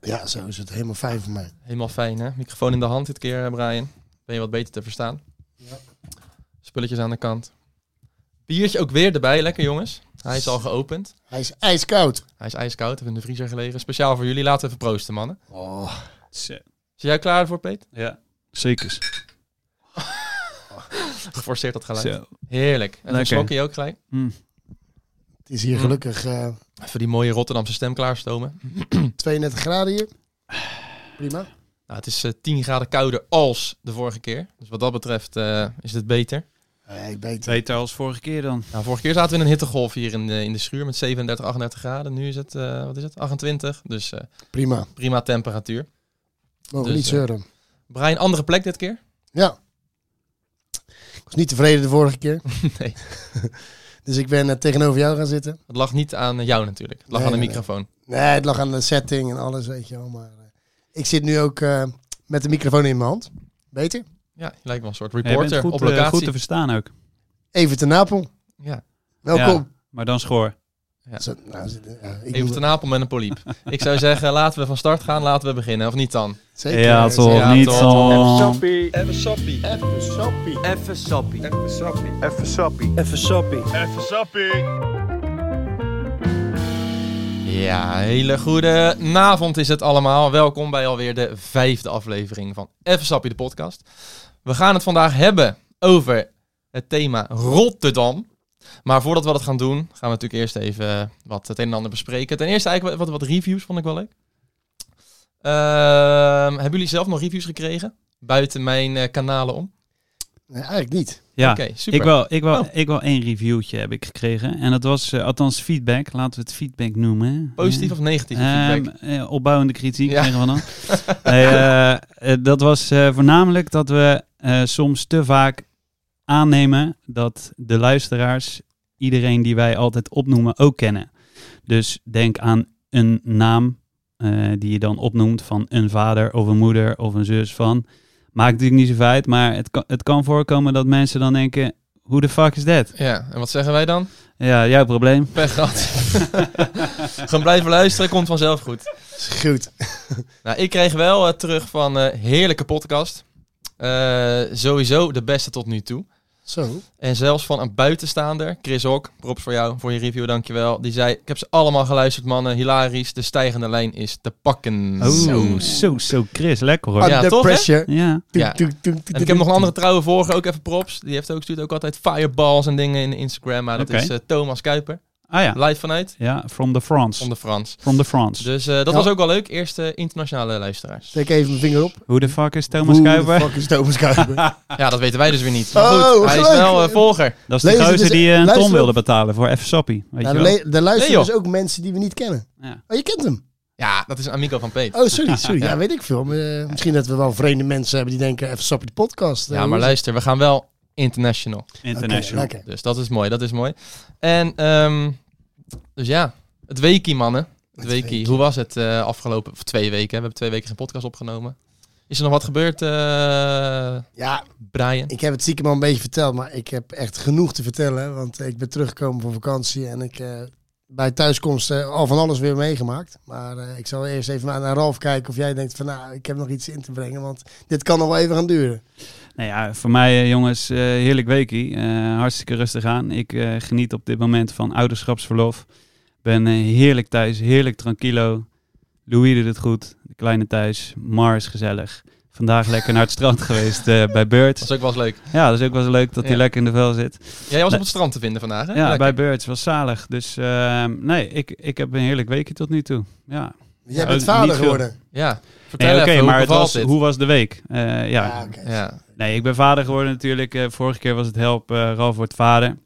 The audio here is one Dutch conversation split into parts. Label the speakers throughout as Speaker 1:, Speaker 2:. Speaker 1: Ja, zo is het helemaal fijn voor mij.
Speaker 2: Helemaal fijn, hè? Microfoon in de hand dit keer, eh, Brian. Ben je wat beter te verstaan? Spulletjes aan de kant. Biertje ook weer erbij. Lekker, jongens. Hij is al geopend.
Speaker 1: Hij is ijskoud.
Speaker 2: Hij is ijskoud. Hebben in de vriezer gelegen. Speciaal voor jullie. Laten we even proosten, mannen.
Speaker 1: Oh.
Speaker 3: Ze-
Speaker 2: Zijn jij klaar voor, Peet?
Speaker 3: Ja, zeker.
Speaker 2: Geforceerd dat geluid.
Speaker 3: Zo.
Speaker 2: Heerlijk. En dan
Speaker 3: Lekker.
Speaker 2: slok je ook gelijk.
Speaker 3: Hm.
Speaker 1: Het is hier
Speaker 2: Hm.
Speaker 1: gelukkig eh,
Speaker 2: Even die mooie Rotterdamse stem klaarstomen.
Speaker 1: 32 graden hier. Prima.
Speaker 2: Nou, het is eh, 10 graden kouder als de vorige keer. Dus wat dat betreft eh, is dit beter.
Speaker 1: Eh, ik weet het.
Speaker 3: Beter als vorige keer dan.
Speaker 2: Nou, vorige keer zaten we in een hittegolf hier in de, in de schuur met 37, 38 graden. Nu is het, eh, wat is het, 28. Dus eh,
Speaker 1: Prima.
Speaker 2: prima temperatuur.
Speaker 1: Mogen
Speaker 2: Dus,
Speaker 1: niet
Speaker 2: eh,
Speaker 1: zeuren.
Speaker 2: Brian, andere plek dit keer?
Speaker 1: Ja. Ik was niet tevreden de vorige keer.
Speaker 2: nee,
Speaker 1: Dus ik ben eh, tegenover jou gaan zitten.
Speaker 2: het lag niet aan jou natuurlijk. Het lag
Speaker 1: Nee,
Speaker 2: aan de
Speaker 1: nee,
Speaker 2: microfoon.
Speaker 1: Nee, het lag aan de setting en alles, weet je wel. Maar eh, ik zit nu ook eh, met de microfoon in mijn hand. Beter?
Speaker 2: Ja, je lijkt wel een soort
Speaker 3: Ja, je
Speaker 2: reporter
Speaker 3: bent goed,
Speaker 2: op
Speaker 3: eh,
Speaker 2: locatie.
Speaker 3: goed te verstaan ook.
Speaker 1: Even te Napel.
Speaker 2: ja.
Speaker 1: Welkom.
Speaker 3: Maar dan schoor.
Speaker 2: Ja.
Speaker 1: Zo- nou, zit- ja, ik
Speaker 2: Even
Speaker 1: moet-
Speaker 2: te napel met een poliep. Ik zou zeggen, laten we van start gaan, laten we beginnen. Of niet dan?
Speaker 1: zeker,
Speaker 3: ja,
Speaker 1: eh,
Speaker 3: toch
Speaker 2: ja,
Speaker 3: niet
Speaker 2: toch.
Speaker 3: zo.
Speaker 4: Even sappie.
Speaker 1: Even sappie.
Speaker 4: Even sappie. Even sappie. Even sappie.
Speaker 2: Ja, hele goede avond is het allemaal. Welkom bij alweer de vijfde aflevering van Even Sappie de podcast. We gaan het vandaag hebben over het thema Rotterdam. Maar voordat we dat gaan doen, gaan we natuurlijk eerst even eh, wat het een en ander bespreken. Ten eerste eigenlijk wat, wat reviews, vond ik wel leuk. Ehm, hebben jullie zelf nog reviews gekregen? Buiten mijn eh, kanalen om?
Speaker 1: Nee, eigenlijk niet.
Speaker 3: Ja,
Speaker 2: Oké, super.
Speaker 3: ik wel, ik, wel,
Speaker 2: Oh.
Speaker 3: ik wel één reviewtje heb ik gekregen. En dat was, eh, althans feedback. Laten we het feedback noemen.
Speaker 2: Positief
Speaker 3: Ja.
Speaker 2: of negatief
Speaker 3: Ehm,
Speaker 2: feedback?
Speaker 3: eh, opbouwende kritiek
Speaker 2: Ja.
Speaker 3: krijgen we dan. Nee, eh, eh, dat was eh, voornamelijk dat we eh, soms te vaak aannemen dat de luisteraars iedereen die wij altijd opnoemen ook kennen. Dus denk aan een naam eh, die je dan opnoemt van een vader of een moeder of een zus van. Maakt natuurlijk niet zoveel uit, maar het kan, het kan voorkomen dat mensen dan denken, hoe de fuck is dat?
Speaker 2: Ja, en wat zeggen wij dan?
Speaker 3: Ja, jouw probleem.
Speaker 2: Pech gehad. Gewoon blijven luisteren, komt vanzelf goed.
Speaker 1: Is goed.
Speaker 2: Nou, ik kreeg wel eh, terug van eh, heerlijke podcast. Eh, sowieso de beste tot nu toe.
Speaker 1: Zo.
Speaker 2: En zelfs van een buitenstaander, Chris Hok, props voor jou, voor je review, dankjewel. Die zei, ik heb ze allemaal geluisterd mannen, hilarisch, de stijgende lijn is te pakken.
Speaker 3: Oh, zo, zo, Chris, lekker hoor.
Speaker 2: Ah,
Speaker 1: Under
Speaker 2: toch, hè?
Speaker 1: pressure.
Speaker 3: Ja.
Speaker 1: Toek,
Speaker 2: Ja.
Speaker 1: toek, toek, toek,
Speaker 2: En ik
Speaker 1: toek,
Speaker 2: heb nog een
Speaker 1: toek.
Speaker 2: andere trouwe vorige, ook even props. Die heeft ook, stuurt ook altijd fireballs en dingen in Instagram. Maar dat
Speaker 3: Oké.
Speaker 2: is eh, Thomas Kuiper,
Speaker 3: Ah ja.
Speaker 2: live vanuit,
Speaker 3: Ja, from the France.
Speaker 2: onder Frans.
Speaker 3: From the France.
Speaker 2: Dus eh, dat
Speaker 1: Ja.
Speaker 2: was ook wel leuk, eerste internationale luisteraars.
Speaker 1: Steek even mijn vinger op.
Speaker 3: Hoe de fuck is Thomas
Speaker 1: Hoe de
Speaker 3: Kuiper?
Speaker 1: fuck is Thomas Kuiper?
Speaker 2: Ja, dat weten wij dus weer niet. Maar
Speaker 1: Oh,
Speaker 2: goed, hij is
Speaker 1: gelijk.
Speaker 2: wel eh, volger.
Speaker 3: Dat is de
Speaker 1: Lezen
Speaker 3: gozer
Speaker 1: dus-
Speaker 3: die eh, een
Speaker 1: luister
Speaker 3: ton
Speaker 1: op.
Speaker 3: wilde betalen voor F. Sappie. Weet
Speaker 1: nou,
Speaker 3: je
Speaker 1: er
Speaker 3: wel?
Speaker 1: le- er luisteren
Speaker 2: Nee,
Speaker 1: dus ook mensen die we niet kennen.
Speaker 3: Ja.
Speaker 1: Oh, je kent hem?
Speaker 2: Ja, dat is een amigo van Peet.
Speaker 1: Oh, sorry, sorry.
Speaker 2: Ja.
Speaker 1: Ja, weet ik veel. Maar, eh, misschien dat we wel vreemde mensen hebben die denken, even sappie de podcast. eh,
Speaker 2: Ja, maar
Speaker 1: hoe is
Speaker 2: luister, we gaan wel international.
Speaker 1: het?
Speaker 3: International.
Speaker 1: Oké, lekker.
Speaker 2: Dus dat is mooi, dat is mooi. En, ehm, dus ja, het weekie, mannen. Het
Speaker 1: Het
Speaker 2: weekie.
Speaker 1: weekie.
Speaker 2: Hoe was het eh, afgelopen, of twee weken, hè? we hebben twee weken geen podcast opgenomen. Is er nog wat gebeurd, eh,
Speaker 1: Ja,
Speaker 2: Brian?
Speaker 1: ik heb het stiekem al een beetje verteld, maar ik heb echt genoeg te vertellen. Want eh, ik ben teruggekomen van vakantie en ik eh, bij thuiskomst eh, al van alles weer meegemaakt. Maar eh, ik zal eerst even naar, naar Ralf kijken of jij denkt van, nou, ik heb nog iets in te brengen. Want dit kan nog wel even gaan duren.
Speaker 3: Nou ja, voor mij eh, jongens, eh, heerlijk weekie. Eh, hartstikke rustig aan. Ik eh, geniet op dit moment van ouderschapsverlof. Ben eh, heerlijk thuis, heerlijk tranquilo. Louis doet het goed, de kleine thuis. Mar is gezellig. Vandaag lekker naar het strand geweest eh, bij Birds.
Speaker 2: Dat was ook wel eens leuk.
Speaker 3: Ja, dat is ook wel eens leuk dat hij
Speaker 2: Ja.
Speaker 3: lekker in de vel zit.
Speaker 2: Jij was op
Speaker 3: Nee.
Speaker 2: het strand te vinden vandaag, hè?
Speaker 3: Ja,
Speaker 2: Lekker.
Speaker 3: bij Birds was zalig. Dus ehm, nee, ik, ik heb een heerlijk weekje tot nu toe. Ja.
Speaker 1: Jij
Speaker 3: Ja,
Speaker 1: bent
Speaker 3: niet
Speaker 1: vader
Speaker 3: veel.
Speaker 1: geworden.
Speaker 2: ja. vertel
Speaker 3: Nee, oké,
Speaker 2: even,
Speaker 3: maar
Speaker 2: hoe
Speaker 3: het
Speaker 2: bevalt
Speaker 3: was,
Speaker 2: dit?
Speaker 3: hoe was de week? Eh, ja.
Speaker 1: Ah, oké.
Speaker 2: Ja,
Speaker 3: nee, ik ben vader geworden natuurlijk. Eh, vorige keer was het help, eh Ralf wordt vader.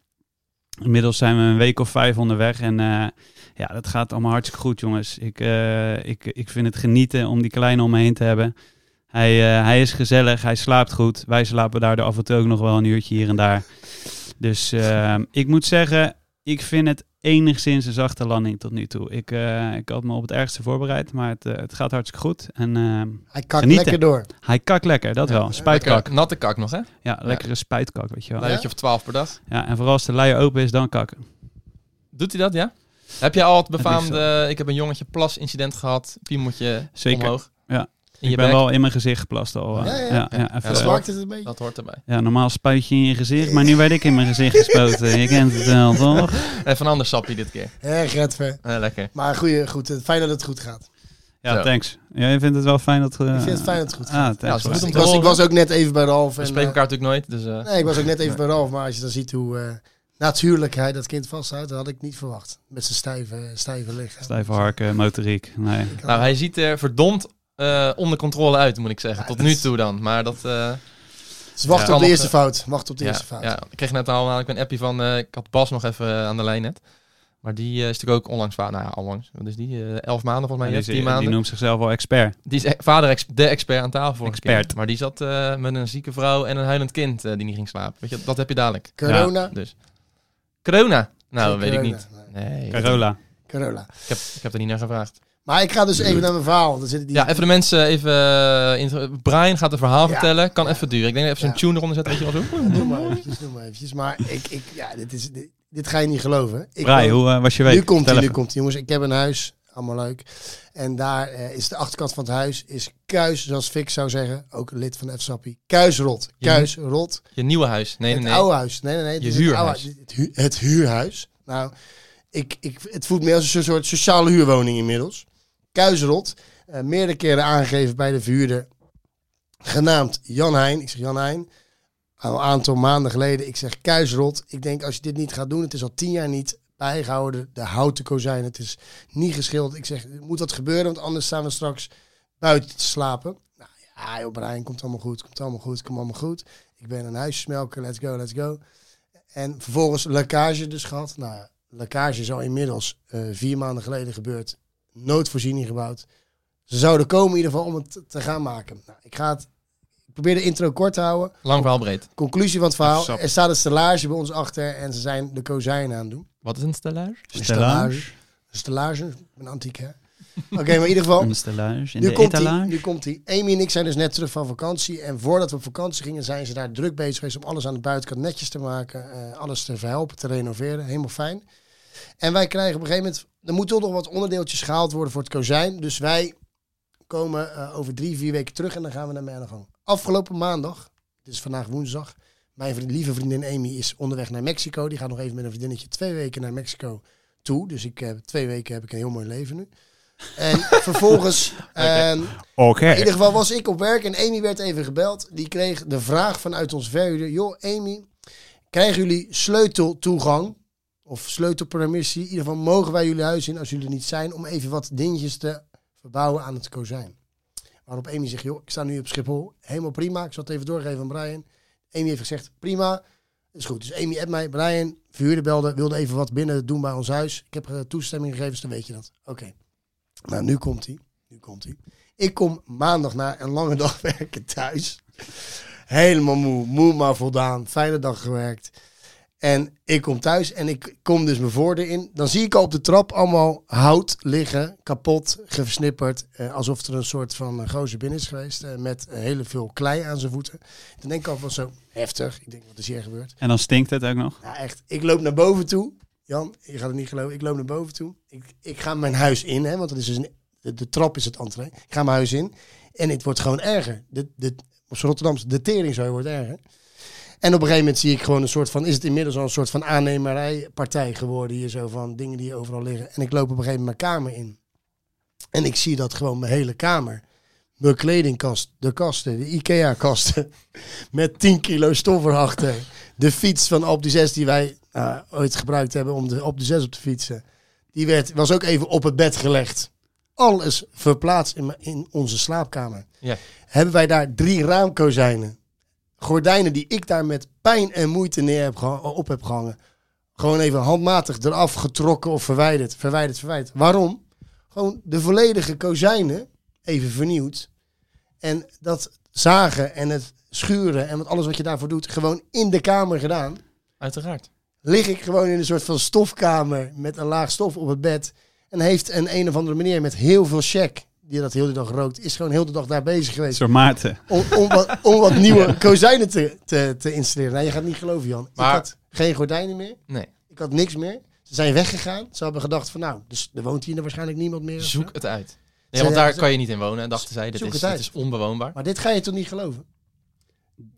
Speaker 3: Inmiddels zijn we een week of vijf onderweg en eh, ja, dat gaat allemaal hartstikke goed, jongens. Ik, eh, ik, ik vind het genieten om die kleine om me heen te hebben. Hij, eh, hij is gezellig, hij slaapt goed. Wij slapen daardoor af en toe ook nog wel een uurtje hier en daar. Dus eh, ik moet zeggen, ik vind het enigszins een zachte landing tot nu toe. Ik, eh, ik had me op het ergste voorbereid, maar het, eh, het gaat hartstikke goed. En eh,
Speaker 1: Hij kakt
Speaker 3: Genieten.
Speaker 1: lekker door.
Speaker 3: hij kakt lekker, dat
Speaker 2: Ja,
Speaker 3: wel. Spuitkak.
Speaker 2: Lekker, natte kak nog, hè?
Speaker 3: Ja, lekkere spuitkak, weet je wel.
Speaker 2: Een of twaalf per dag.
Speaker 3: Ja, en vooral als de luier open is, dan kakken.
Speaker 2: Doet hij dat, ja? Heb jij al het
Speaker 3: ligt
Speaker 2: befaamde, ik heb een jongetje plas incident gehad, piemeltje
Speaker 3: eh, Zeker.
Speaker 2: omhoog?
Speaker 3: Ja.
Speaker 2: In je
Speaker 3: ik ben
Speaker 2: bek?
Speaker 3: wel in mijn gezicht geplast al. eh.
Speaker 1: Ja, ja, ja.
Speaker 2: Ja,
Speaker 3: even,
Speaker 2: dat
Speaker 1: Dat
Speaker 2: is
Speaker 3: eh,
Speaker 2: waar.
Speaker 1: maakt het een beetje.
Speaker 2: Dat hoort erbij.
Speaker 3: ja, normaal spuit je in je gezicht, maar nu werd ik in mijn gezicht gespoten. Je kent het wel, toch?
Speaker 2: Even een ander sapje dit keer.
Speaker 1: Erg redver.
Speaker 2: Eh, lekker.
Speaker 1: Maar goeie, goed, eh, fijn dat het goed gaat.
Speaker 3: Ja,
Speaker 2: Zo.
Speaker 3: thanks. Jij vindt het wel fijn dat... eh,
Speaker 1: Ik vind het fijn dat het goed
Speaker 3: Ah,
Speaker 1: gaat.
Speaker 3: thanks.
Speaker 2: Ja, is goed
Speaker 1: Dus
Speaker 2: om
Speaker 1: ik,
Speaker 2: te
Speaker 1: was, ik
Speaker 2: horen.
Speaker 1: was ook net even bij Ralf.
Speaker 2: We
Speaker 1: En,
Speaker 2: spreken
Speaker 1: eh,
Speaker 2: elkaar natuurlijk nooit, dus... eh,
Speaker 1: nee, ik was ook net even bij Ralf. Maar als je dan ziet hoe eh, natuurlijk hij dat kind vasthoudt, dat had ik niet verwacht. Met zijn stijve, eh, stijve lichaam.
Speaker 3: Stijve harken, motoriek. Nee.
Speaker 2: Nou, hij ziet er verdomd eh, onder controle uit, moet ik zeggen.
Speaker 1: Ja,
Speaker 2: Tot
Speaker 1: dat
Speaker 2: nu
Speaker 1: is-
Speaker 2: toe dan. Maar dat... eh,
Speaker 1: Dus wacht
Speaker 2: Ja.
Speaker 1: op de
Speaker 2: Nog,
Speaker 1: eerste
Speaker 2: eh,
Speaker 1: fout. Wacht op de
Speaker 2: ja,
Speaker 1: eerste fout.
Speaker 2: ja, ik kreeg net al namelijk een appje van... eh, ik had Bas nog even eh, aan de lijn net. Maar die eh, is natuurlijk ook onlangs... va- Nou ja, onlangs. Wat is die? eh, elf maanden volgens mij.
Speaker 3: die,
Speaker 2: Jeff,
Speaker 3: is- eh,
Speaker 2: tien
Speaker 3: die
Speaker 2: maanden. Die,
Speaker 3: noemt zichzelf wel expert.
Speaker 2: is e- vader ex- de expert aan tafel. vorige keer.
Speaker 3: Expert.
Speaker 2: Maar die zat eh, met een zieke vrouw en een huilend kind eh, die niet ging slapen. Weet je, dat heb je dadelijk.
Speaker 1: Corona?
Speaker 2: Dus. Corona? Nou,
Speaker 1: Geen
Speaker 2: weet ik
Speaker 1: corona.
Speaker 2: niet.
Speaker 1: Nee,
Speaker 2: Nee, ik heb,
Speaker 3: Carola.
Speaker 1: Corona.
Speaker 2: ik heb er niet naar gevraagd.
Speaker 1: Maar ik ga dus even naar mijn verhaal. Dan zitten die,
Speaker 2: Ja, even de mensen even... eh, intro- Brian gaat een verhaal
Speaker 1: Ja.
Speaker 2: vertellen. Kan
Speaker 1: Ja.
Speaker 2: even duren. Ik denk dat even zo'n
Speaker 1: Ja.
Speaker 2: tune eronder zetten. Weet je wel zo.
Speaker 1: Doe maar eventjes, doe maar eventjes. Maar ik, ik, ja, dit, is, dit, dit ga je niet geloven. Ik
Speaker 3: Braai,
Speaker 1: woon-
Speaker 3: hoe eh, was je week?
Speaker 1: Nu komt hij,
Speaker 3: Vertel
Speaker 1: nu
Speaker 3: even.
Speaker 1: komt hij. Jongens, ik heb een huis. Allemaal leuk. En daar eh, is de achterkant van het huis is kuis, zoals Fix zou zeggen. Ook een lid van de F-Sappie. Kuisrot.
Speaker 2: Je
Speaker 1: Kuisrot.
Speaker 2: Je nieuwe huis. Nee, nee,
Speaker 1: het
Speaker 2: nee.
Speaker 1: oude huis. Nee, nee, nee. het
Speaker 2: Je
Speaker 1: is het, oude
Speaker 2: huurhuis.
Speaker 1: huis. Het, hu- het huurhuis. Nou, ik, ik, het voelt meer als een soort sociale huurwoning inmiddels. Kuisrot. eh, meerdere keren aangegeven bij de verhuurder. Genaamd Jan Heijn. Ik zeg Jan Heijn. Al een aantal maanden geleden. Ik zeg kuisrot. Ik denk als je dit niet gaat doen. Het is al tien jaar niet bijgehouden. De houten kozijnen. Het is niet geschilderd. Ik zeg er moet wat gebeuren. Want anders staan we straks buiten te slapen. Nou ja joh Brian. Komt allemaal goed. Komt allemaal goed. Komt allemaal goed. Ik ben een huissmelker. Let's go. Let's go. En vervolgens lekkage dus gehad. Nou ja, lekkage is al inmiddels eh, vier maanden geleden gebeurd. Noodvoorziening gebouwd. Ze zouden komen in ieder geval om het te- te gaan maken. Nou, ik ga het... Ik probeer de intro kort te houden.
Speaker 2: Lang verhaal breed.
Speaker 1: Conclusie van het verhaal.
Speaker 3: Sap.
Speaker 1: Er staat een stellage bij ons achter en ze zijn de kozijnen aan het doen.
Speaker 2: Wat is een stellage?
Speaker 3: Stellage.
Speaker 1: Een stellage, een antiek hè? Oké, maar in ieder geval,
Speaker 3: Een stellage. In
Speaker 1: nu
Speaker 3: de
Speaker 1: komt,
Speaker 3: etalage.
Speaker 1: hij, nu komt hij. Amy en ik zijn dus net terug van vakantie. En voordat we op vakantie gingen, zijn ze daar druk bezig geweest om alles aan de buitenkant netjes te maken. eh, alles te verhelpen, te renoveren. Helemaal fijn. En wij krijgen op een gegeven moment. Er moeten toch nog wat onderdeeltjes gehaald worden voor het kozijn. Dus wij komen eh, over drie, vier weken terug en dan gaan we naar mijn gang. Afgelopen maandag, het is vandaag woensdag. Mijn vriend- lieve vriendin Amy is onderweg naar Mexico. Die gaat nog even met een vriendinnetje twee weken naar Mexico toe. Dus ik heb twee weken heb ik een heel mooi leven nu. En vervolgens ehm,
Speaker 3: Oké.
Speaker 1: in ieder geval was ik op werk en Amy werd even gebeld. Die kreeg de vraag vanuit ons verhuurder. Joh, Amy, krijgen jullie sleuteltoegang of sleutelpermissie? In ieder geval mogen wij jullie huis in als jullie er niet zijn... om even wat dingetjes te verbouwen aan het kozijn. Waarop Amy zegt, joh, ik sta nu op Schiphol. Helemaal prima. Ik zal het even doorgeven aan Brian. Amy heeft gezegd, prima. Is goed. Dus Amy appt mij. Brian, verhuurder belde, wilde even wat binnen doen bij ons huis. Ik heb eh, toestemming gegeven, dus dan weet je dat. Oké. Nou, nu komt hij. Nu komt hij. Ik kom maandag na een lange dag werken thuis. Helemaal moe. Moe maar voldaan. Fijne dag gewerkt. En ik kom thuis en ik kom dus mijn voordeur in. Dan zie ik al op de trap allemaal hout liggen, kapot, versnipperd. eh, alsof er een soort van eh, gozer binnen is geweest. eh, met eh, hele veel klei aan zijn voeten. Dan denk ik al van zo heftig. Ik denk, wat is hier gebeurd?
Speaker 3: En dan stinkt het ook nog.
Speaker 1: Ja, echt. Ik loop naar boven toe. Jan, je gaat het niet geloven. Ik loop naar boven toe. Ik, ik ga mijn huis in, hè, want dat is dus een, de, de trap is het entree. Ik ga mijn huis in. En het wordt gewoon erger. De, de, op z'n Rotterdamse, de tering zo wordt erger. En op een gegeven moment zie ik gewoon een soort van... Is het inmiddels al een soort van aannemerijpartij geworden hier zo van dingen die overal liggen. En ik loop op een gegeven moment mijn kamer in. En ik zie dat gewoon mijn hele kamer. Mijn kledingkast, de kasten, de Ikea-kasten. Met 10 kilo stof erachter. De fiets van Op de 6 die wij eh, ooit gebruikt hebben om de, op de 6 op te fietsen. Die werd, was ook even op het bed gelegd. Alles verplaatst in, mijn- in onze slaapkamer.
Speaker 2: Ja.
Speaker 1: Hebben wij daar drie raamkozijnen. Gordijnen die ik daar met pijn en moeite neer heb geha- op heb gehangen. Gewoon even handmatig eraf getrokken of verwijderd. Verwijderd, verwijderd. Waarom? Gewoon de volledige kozijnen even vernieuwd. En dat zagen en het schuren en wat alles wat je daarvoor doet, gewoon in de kamer gedaan.
Speaker 2: Uiteraard.
Speaker 1: Lig ik gewoon in een soort van stofkamer met een laag stof op het bed. En heeft een een of andere meneer met heel veel check, die dat heel de dag rookt, is gewoon heel de dag daar bezig
Speaker 3: Een
Speaker 1: geweest.
Speaker 3: soort Maarten.
Speaker 1: Om, om, wat, om wat nieuwe kozijnen te, te, te installeren. Nou, je gaat niet geloven, Jan.
Speaker 2: Maar-
Speaker 1: Ik had geen gordijnen meer.
Speaker 2: Nee.
Speaker 1: Ik had niks meer. Ze zijn weggegaan. Ze hebben gedacht van nou, dus er woont hier waarschijnlijk niemand meer. of zo.
Speaker 2: Zoek het uit. Nee, want daar
Speaker 1: ze-
Speaker 2: kan je niet in wonen, dachten zij. Dit
Speaker 1: Zoek
Speaker 2: is,
Speaker 1: het
Speaker 2: dit
Speaker 1: uit.
Speaker 2: is onbewoonbaar.
Speaker 1: Maar dit ga je toch niet geloven?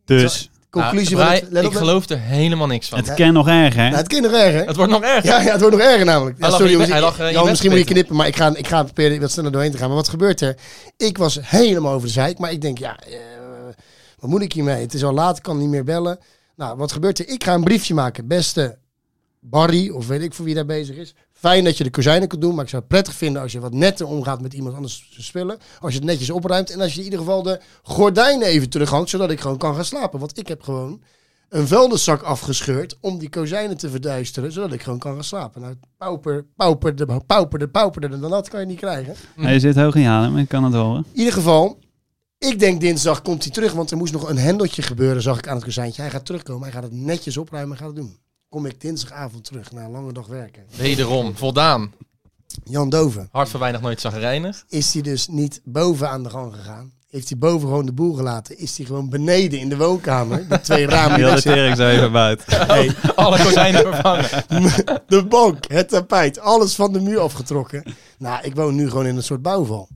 Speaker 3: Dus
Speaker 1: Conclusie
Speaker 2: Nou,
Speaker 1: van
Speaker 2: Brai,
Speaker 1: het- let op,
Speaker 2: ik
Speaker 1: let-
Speaker 2: geloof er helemaal niks van.
Speaker 3: het
Speaker 2: Het,
Speaker 1: Nee.
Speaker 3: kan nog erg, hè?
Speaker 1: Nou, het kind nog erger. hè?
Speaker 2: wordt nog erger.
Speaker 1: Ja, ja, het wordt nog erger namelijk.
Speaker 2: Hij
Speaker 1: Ja,
Speaker 2: lag
Speaker 1: sorry,
Speaker 2: in je
Speaker 1: jongens,
Speaker 2: bed- hij lag eh, in je
Speaker 1: Jan,
Speaker 2: bed
Speaker 1: misschien moet je
Speaker 2: te pitten.
Speaker 1: knippen, maar ik ga, ik ga proberen wat sneller doorheen te gaan. Maar wat gebeurt er? Ik was helemaal over de zeik, maar ik denk, ja, eh, wat moet ik hiermee? Het is al laat, ik kan niet meer bellen. Nou, wat gebeurt er? Ik ga een briefje maken. Beste Barry, of weet ik voor wie daar bezig is. Fijn dat je de kozijnen kunt doen, maar ik zou het prettig vinden als je wat netter omgaat met iemand anders zijn spullen. Als je het netjes opruimt en als je in ieder geval de gordijnen even terughangt, zodat ik gewoon kan gaan slapen. Want ik heb gewoon een vuilniszak afgescheurd om die kozijnen te verduisteren, zodat ik gewoon kan gaan slapen. Nou, pauper, pauper, de pauper, de pauper, dan dat kan je niet krijgen.
Speaker 3: Hij zit hoog in Haarlem, ik kan het horen.
Speaker 1: In ieder geval, ik denk dinsdag komt hij terug, want er moest nog een hendeltje gebeuren, zag ik aan het kozijntje. Hij gaat terugkomen, hij gaat het netjes opruimen, hij gaat het doen. Kom ik dinsdagavond terug na een lange dag werken.
Speaker 2: Wederom, voldaan.
Speaker 1: Jan Doven,
Speaker 2: Hart voor weinig, nooit zagrijnig.
Speaker 1: is hij dus niet boven aan de gang gegaan? Heeft hij boven gewoon de boel gelaten? Is hij gewoon beneden in de woonkamer? De twee ramen. die
Speaker 3: Heel
Speaker 1: daar
Speaker 3: de
Speaker 1: zitten?
Speaker 3: tering zo even buiten.
Speaker 1: Nee.
Speaker 2: Alle kozijnen vervangen.
Speaker 1: De bank, het tapijt, alles van de muur afgetrokken. Nou, ik woon nu gewoon in een soort bouwval.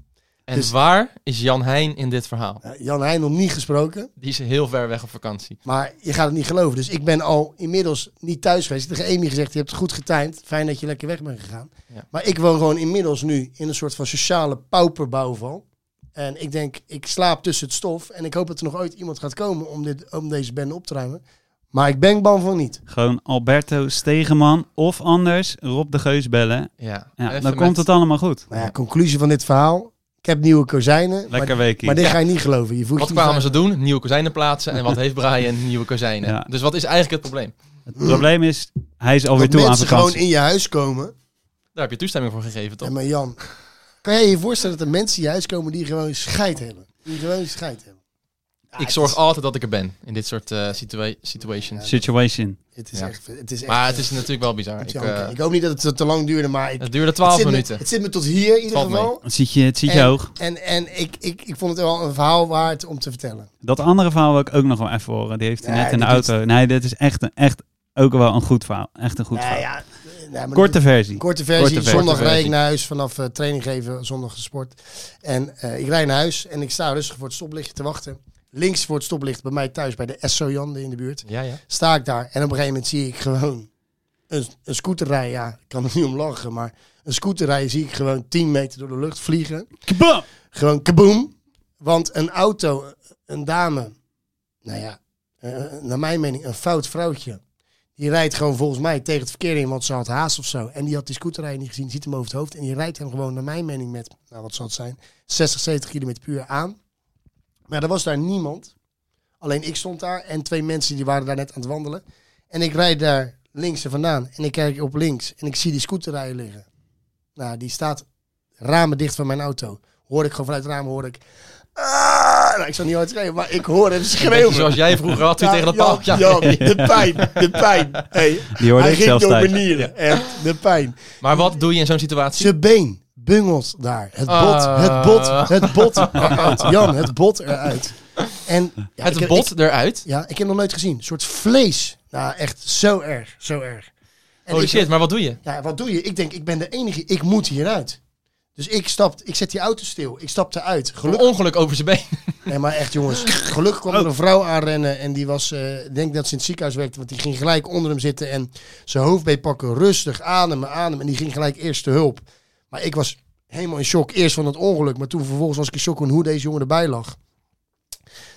Speaker 2: En
Speaker 1: Dus-
Speaker 2: waar is Jan Heijn in dit verhaal?
Speaker 1: Eh, Jan Heijn nog niet gesproken,
Speaker 2: Die is heel ver weg op vakantie.
Speaker 1: maar je gaat het niet geloven. Dus ik ben al inmiddels niet thuis geweest. Ik heb tegen Amy gezegd, je hebt het goed getimed. Fijn dat je lekker weg bent gegaan.
Speaker 2: Ja.
Speaker 1: Maar ik woon gewoon inmiddels nu in een soort van sociale pauperbouwval. En ik denk, ik slaap tussen het stof. En ik hoop dat er nog ooit iemand gaat komen om, dit, om deze bende op te ruimen. Maar ik ben bang van niet.
Speaker 3: Gewoon Alberto Stegeman of anders Rob de Geus bellen.
Speaker 2: Ja,
Speaker 3: Ja,
Speaker 2: even
Speaker 3: dan
Speaker 2: met-
Speaker 3: komt het allemaal goed.
Speaker 1: Nou ja, conclusie van dit verhaal. Ik heb nieuwe kozijnen. maar-
Speaker 3: Lekker weekie.
Speaker 1: Maar dit ga je niet geloven. Je voelt
Speaker 2: Wat
Speaker 1: je niet
Speaker 2: kwamen ze
Speaker 1: veilig.
Speaker 2: doen? Nieuwe kozijnen plaatsen. En wat heeft Brian? Nieuwe kozijnen.
Speaker 3: Ja.
Speaker 2: Dus wat is eigenlijk het probleem?
Speaker 3: Het probleem is, hij is alweer
Speaker 1: Dat
Speaker 3: toe aan
Speaker 1: mensen gewoon
Speaker 3: vakantie.
Speaker 1: in je huis komen.
Speaker 2: Daar heb je toestemming voor gegeven, toch?
Speaker 1: En maar Jan, kan jij je voorstellen dat er mensen in je huis komen die gewoon scheid hebben? Die gewoon scheid hebben. Ja,
Speaker 2: Ik
Speaker 1: het
Speaker 2: zorg
Speaker 1: is-
Speaker 2: altijd dat ik er ben in dit soort eh, situa- situations.
Speaker 3: Situation.
Speaker 1: Het is
Speaker 2: Ja.
Speaker 1: echt... Het is echt
Speaker 2: Maar het is natuurlijk wel bizar.
Speaker 1: het
Speaker 2: Ik,
Speaker 1: is janken.
Speaker 2: eh,
Speaker 1: ik hoop niet dat het te lang duurde, maar ik,
Speaker 2: het duurde
Speaker 1: het,
Speaker 2: 12
Speaker 1: zit me,
Speaker 2: minuten.
Speaker 1: het zit me tot hier in ieder
Speaker 2: Valt mee.
Speaker 1: geval.
Speaker 3: Het ziet je, het ziet je
Speaker 1: En-
Speaker 3: hoog.
Speaker 1: En, en ik, ik, ik vond het wel een verhaal waard om te vertellen.
Speaker 3: Dat andere verhaal wil ik ook nog wel even horen. Die heeft hij
Speaker 1: Nee,
Speaker 3: net in de
Speaker 1: die doet-
Speaker 3: auto. Nee, dit is echt, een, echt ook wel een goed verhaal. Echt een goed
Speaker 1: Nou
Speaker 3: verhaal.
Speaker 1: ja, eh, nou, maar
Speaker 3: Korte versie.
Speaker 1: Korte versie,
Speaker 3: Korte versie.
Speaker 1: zondag
Speaker 2: Korte
Speaker 1: rijd ik
Speaker 2: versie.
Speaker 1: naar huis vanaf eh, training geven, zondag de sport. En eh, ik rijd naar huis en ik sta rustig voor het stoplichtje te wachten. Links voor het stoplicht bij mij thuis bij de SO Jan in de buurt.
Speaker 2: Ja, ja.
Speaker 1: Sta ik daar en op een gegeven moment zie ik gewoon een, een scooter rijden. Ja, ik kan er niet om lachen, maar een scooter rijden zie ik gewoon 10 meter door de lucht vliegen.
Speaker 3: Kabam!
Speaker 1: Gewoon kaboom. Want een auto, een dame, nou ja, eh, naar mijn mening een fout vrouwtje. Die rijdt gewoon volgens mij tegen het verkeer in, want ze had haast of zo. En die had die scooterrijder niet gezien, ziet hem over het hoofd. En die rijdt hem gewoon, naar mijn mening, met, nou wat zal het zijn, 60, 70 kilometer per uur aan. Maar er was daar niemand. Alleen ik stond daar en twee mensen die waren daar net aan het wandelen. En ik rijd daar links er vandaan en ik kijk op links en ik zie die scooterrijder liggen. Nou, die staat ramen dicht van mijn auto. Hoor ik gewoon vanuit het raam, hoor ik... "Ah!" Nou, ik zal niet hard schreeuwen, maar ik hoor hem schreeuwen.
Speaker 2: Zoals jij vroeger had, toen
Speaker 1: Ja,
Speaker 2: tegen dat
Speaker 1: Jan,
Speaker 2: paal. Ja.
Speaker 1: Jan, de pijn, de pijn. Hey,
Speaker 3: Die hoorde
Speaker 1: hij
Speaker 3: ik
Speaker 1: ging
Speaker 3: zelfs
Speaker 1: door
Speaker 3: thuis.
Speaker 1: mijn nieren. Echt, de pijn.
Speaker 2: Maar wat doe je in zo'n situatie?
Speaker 1: Zijn been bungelt daar. Het bot,
Speaker 2: Ah.
Speaker 1: het bot, het bot eruit. Jan, het bot eruit. En, ja, ik
Speaker 2: Het
Speaker 1: heb-
Speaker 2: bot eruit.
Speaker 1: ja, ik heb hem nog nooit gezien. Een soort vlees. Nou, echt zo erg, zo erg. En
Speaker 2: Holy
Speaker 1: ik-
Speaker 2: shit, maar wat doe je?
Speaker 1: Ja, wat doe je? Ik denk, ik ben de enige. Ik moet hieruit. Dus ik stap, ik zet die auto stil. Ik stap eruit.
Speaker 2: Een
Speaker 1: Gelukkig,
Speaker 2: ongeluk over zijn been.
Speaker 1: nee, maar echt jongens. Gelukkig kwam er een vrouw aanrennen en die was, eh, ik denk dat ze in het ziekenhuis werkte, want die ging gelijk onder hem zitten en zijn hoofdbeen pakken. Rustig, ademen, ademen. En die ging gelijk eerste hulp. Maar ik was helemaal in shock. Eerst van het ongeluk, maar toen vervolgens was ik in shock van hoe deze jongen erbij lag.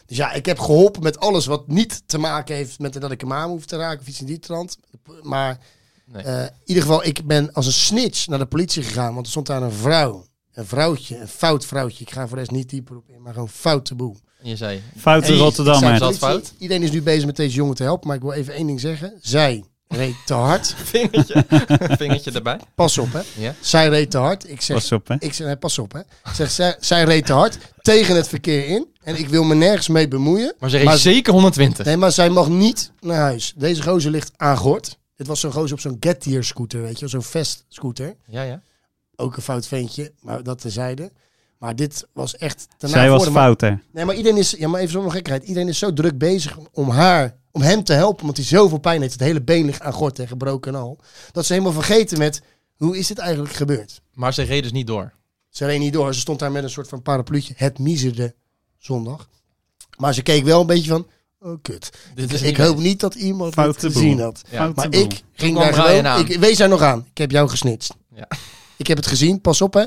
Speaker 1: Dus ja, ik heb geholpen met alles wat niet te maken heeft met dat ik hem aan hoef te raken of iets in die trant. Maar
Speaker 2: Nee.
Speaker 1: eh, in ieder geval, ik ben als een snitch naar de politie gegaan, want er stond daar een vrouw. Een vrouwtje, een fout vrouwtje. Ik ga voor de rest niet dieper op in, maar gewoon foute boel.
Speaker 2: En je zei,
Speaker 3: Fout in
Speaker 1: Hey,
Speaker 3: Rotterdam,
Speaker 1: ik zei,
Speaker 3: hè.
Speaker 2: dat
Speaker 1: politie,
Speaker 2: fout?
Speaker 1: Iedereen is nu bezig met deze jongen te helpen, maar ik wil even één ding zeggen. Zij reed te hard.
Speaker 2: vingertje, vingertje erbij.
Speaker 1: Pas op, hè.
Speaker 2: Ja.
Speaker 1: Zij reed te hard. Ik zeg,
Speaker 3: Pas op, hè.
Speaker 1: ik zeg nee, pas op, hè. Ik zeg, zij, zij reed te hard tegen het verkeer in. En ik wil me nergens mee bemoeien.
Speaker 2: Maar ze reed
Speaker 1: Maar-
Speaker 2: zeker 120.
Speaker 1: Nee, maar zij mag niet naar huis. Deze gozer ligt aangord. Dit was zo'n gozer op zo'n Get Here scooter, weet je wel. Zo'n Vest scooter.
Speaker 2: Ja, ja.
Speaker 1: Ook een fout ventje, maar dat tezijde. Maar dit was echt... ten
Speaker 3: Zij was
Speaker 1: navoren. Maar-
Speaker 3: fout, hè?
Speaker 1: Nee, maar iedereen is... Ja, maar even zonder gekkerheid. Iedereen is zo druk bezig om haar... Om hem te helpen, want hij zoveel pijn heeft. Het hele been ligt aan gort en gebroken en al. Dat ze helemaal vergeten met... Hoe is dit eigenlijk gebeurd?
Speaker 2: Maar ze reed dus niet door.
Speaker 1: Ze reed niet door. Ze stond daar met een soort van parapluutje. Het miserde zondag. Maar ze keek wel een beetje van... Oh, kut.
Speaker 2: Dit is
Speaker 1: ik
Speaker 2: Dus niet-
Speaker 1: hoop niet dat iemand het
Speaker 3: Foute boel.
Speaker 1: gezien had.
Speaker 2: Ja.
Speaker 3: Foute
Speaker 1: Maar
Speaker 3: boel.
Speaker 1: ik ging
Speaker 2: kwam
Speaker 1: daar
Speaker 2: Brian
Speaker 1: gewoon...
Speaker 2: aan.
Speaker 1: Ik, wees daar nog aan. Ik heb jou gesnitst.
Speaker 2: Ja.
Speaker 1: Ik heb het gezien. Pas op, hè.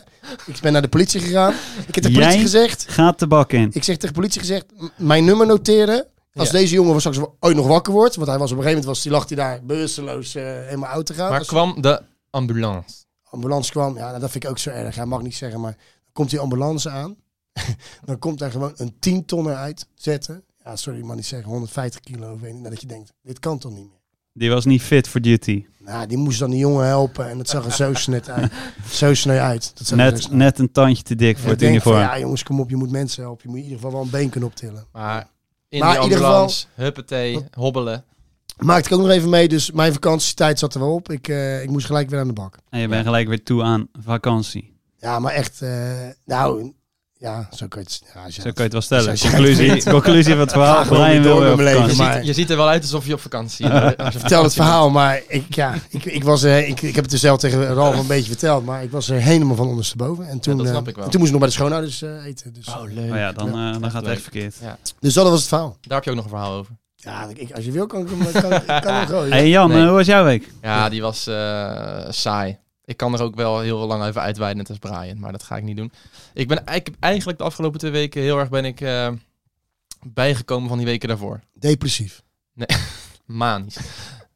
Speaker 1: Ik ben naar de politie gegaan. Ik heb de politie
Speaker 3: Jij?
Speaker 1: gezegd...
Speaker 3: Gaat de bak in.
Speaker 1: Ik zeg tegen de politie gezegd... m- Mijn nummer noteren. Als
Speaker 2: Ja.
Speaker 1: deze jongen straks ooit nog wakker wordt... Want hij was op een gegeven moment... Was, die lag hij daar bewusteloos eh, helemaal oud te gaan.
Speaker 2: Maar
Speaker 1: Als
Speaker 2: kwam de ambulance.
Speaker 1: de ambulance kwam... Ja, nou, dat vind ik ook zo erg. Hij mag niet zeggen, maar... Komt die ambulance aan... dan komt daar gewoon een 10 tonner uit zetten. Ja, sorry, ik mag niet zeggen. 150 kilo of weet niet. Nou, dat je denkt, dit kan toch niet meer.
Speaker 3: Die was niet fit voor duty.
Speaker 1: Nou, die moest dan die jongen helpen. En dat zag er zo sneu uit. Zo sneu uit. Dat zag er zo
Speaker 3: Net,
Speaker 1: sneu
Speaker 3: net een tandje te dik
Speaker 1: uit.
Speaker 3: voor
Speaker 1: Ik
Speaker 3: het
Speaker 1: denk van,
Speaker 3: uniform.
Speaker 1: ja jongens, kom op. Je moet mensen helpen. Je moet in ieder geval wel een been kunnen optillen.
Speaker 2: Maar in
Speaker 1: Maar
Speaker 2: die
Speaker 1: in ieder
Speaker 2: ambulance, huppatee,
Speaker 1: Wat-
Speaker 2: hobbelen.
Speaker 1: Maakte ik ook nog even mee. Dus mijn vakantietijd zat er wel op. Ik, eh, ik moest gelijk weer aan de bak.
Speaker 3: En je bent gelijk weer toe aan vakantie.
Speaker 1: Ja, maar echt. eh, nou, ja, zo kan je het... Ja, als je
Speaker 3: Zo kan
Speaker 1: het-
Speaker 3: je het wel stellen.
Speaker 1: Dus als je-
Speaker 3: Conclusie, conclusie van het verhaal.
Speaker 1: Ga gewoon
Speaker 3: Brian
Speaker 1: weer
Speaker 3: wil
Speaker 1: door
Speaker 3: weer
Speaker 1: met mijn
Speaker 3: op
Speaker 1: leven,
Speaker 2: Je,
Speaker 3: vakantie.
Speaker 1: Maar-
Speaker 2: ziet, je ziet er wel uit alsof je op vakantie bent.
Speaker 1: Vertel het verhaal, maar ik, ja, ik, ik was er, ik, ik heb het dus zelf tegen Ralf een beetje verteld, maar ik was er helemaal van ondersteboven. En toen,
Speaker 2: dat
Speaker 1: eh,
Speaker 2: snap ik wel.
Speaker 1: en toen moest ik nog bij de schoonouders eh, eten. Dus,
Speaker 2: Oh, leuk.
Speaker 3: Maar ja, dan, eh, dan
Speaker 2: echt
Speaker 3: gaat het
Speaker 2: leuk.
Speaker 3: echt verkeerd.
Speaker 1: dus dat was het verhaal.
Speaker 2: Daar heb je ook nog een verhaal over.
Speaker 1: Ja, ik, als je wil kan ik hem kan, ik kan hem gooien.
Speaker 3: hey Jan,
Speaker 2: Nee.
Speaker 3: eh, hoe was jouw week?
Speaker 2: Ja, die was eh, saai. Ik kan er ook wel heel lang even uitweiden, net als Brian, maar dat ga ik niet doen. Ik ben ik heb eigenlijk de afgelopen twee weken heel erg ben ik, eh, bijgekomen van die weken daarvoor.
Speaker 1: Depressief.
Speaker 2: Manisch.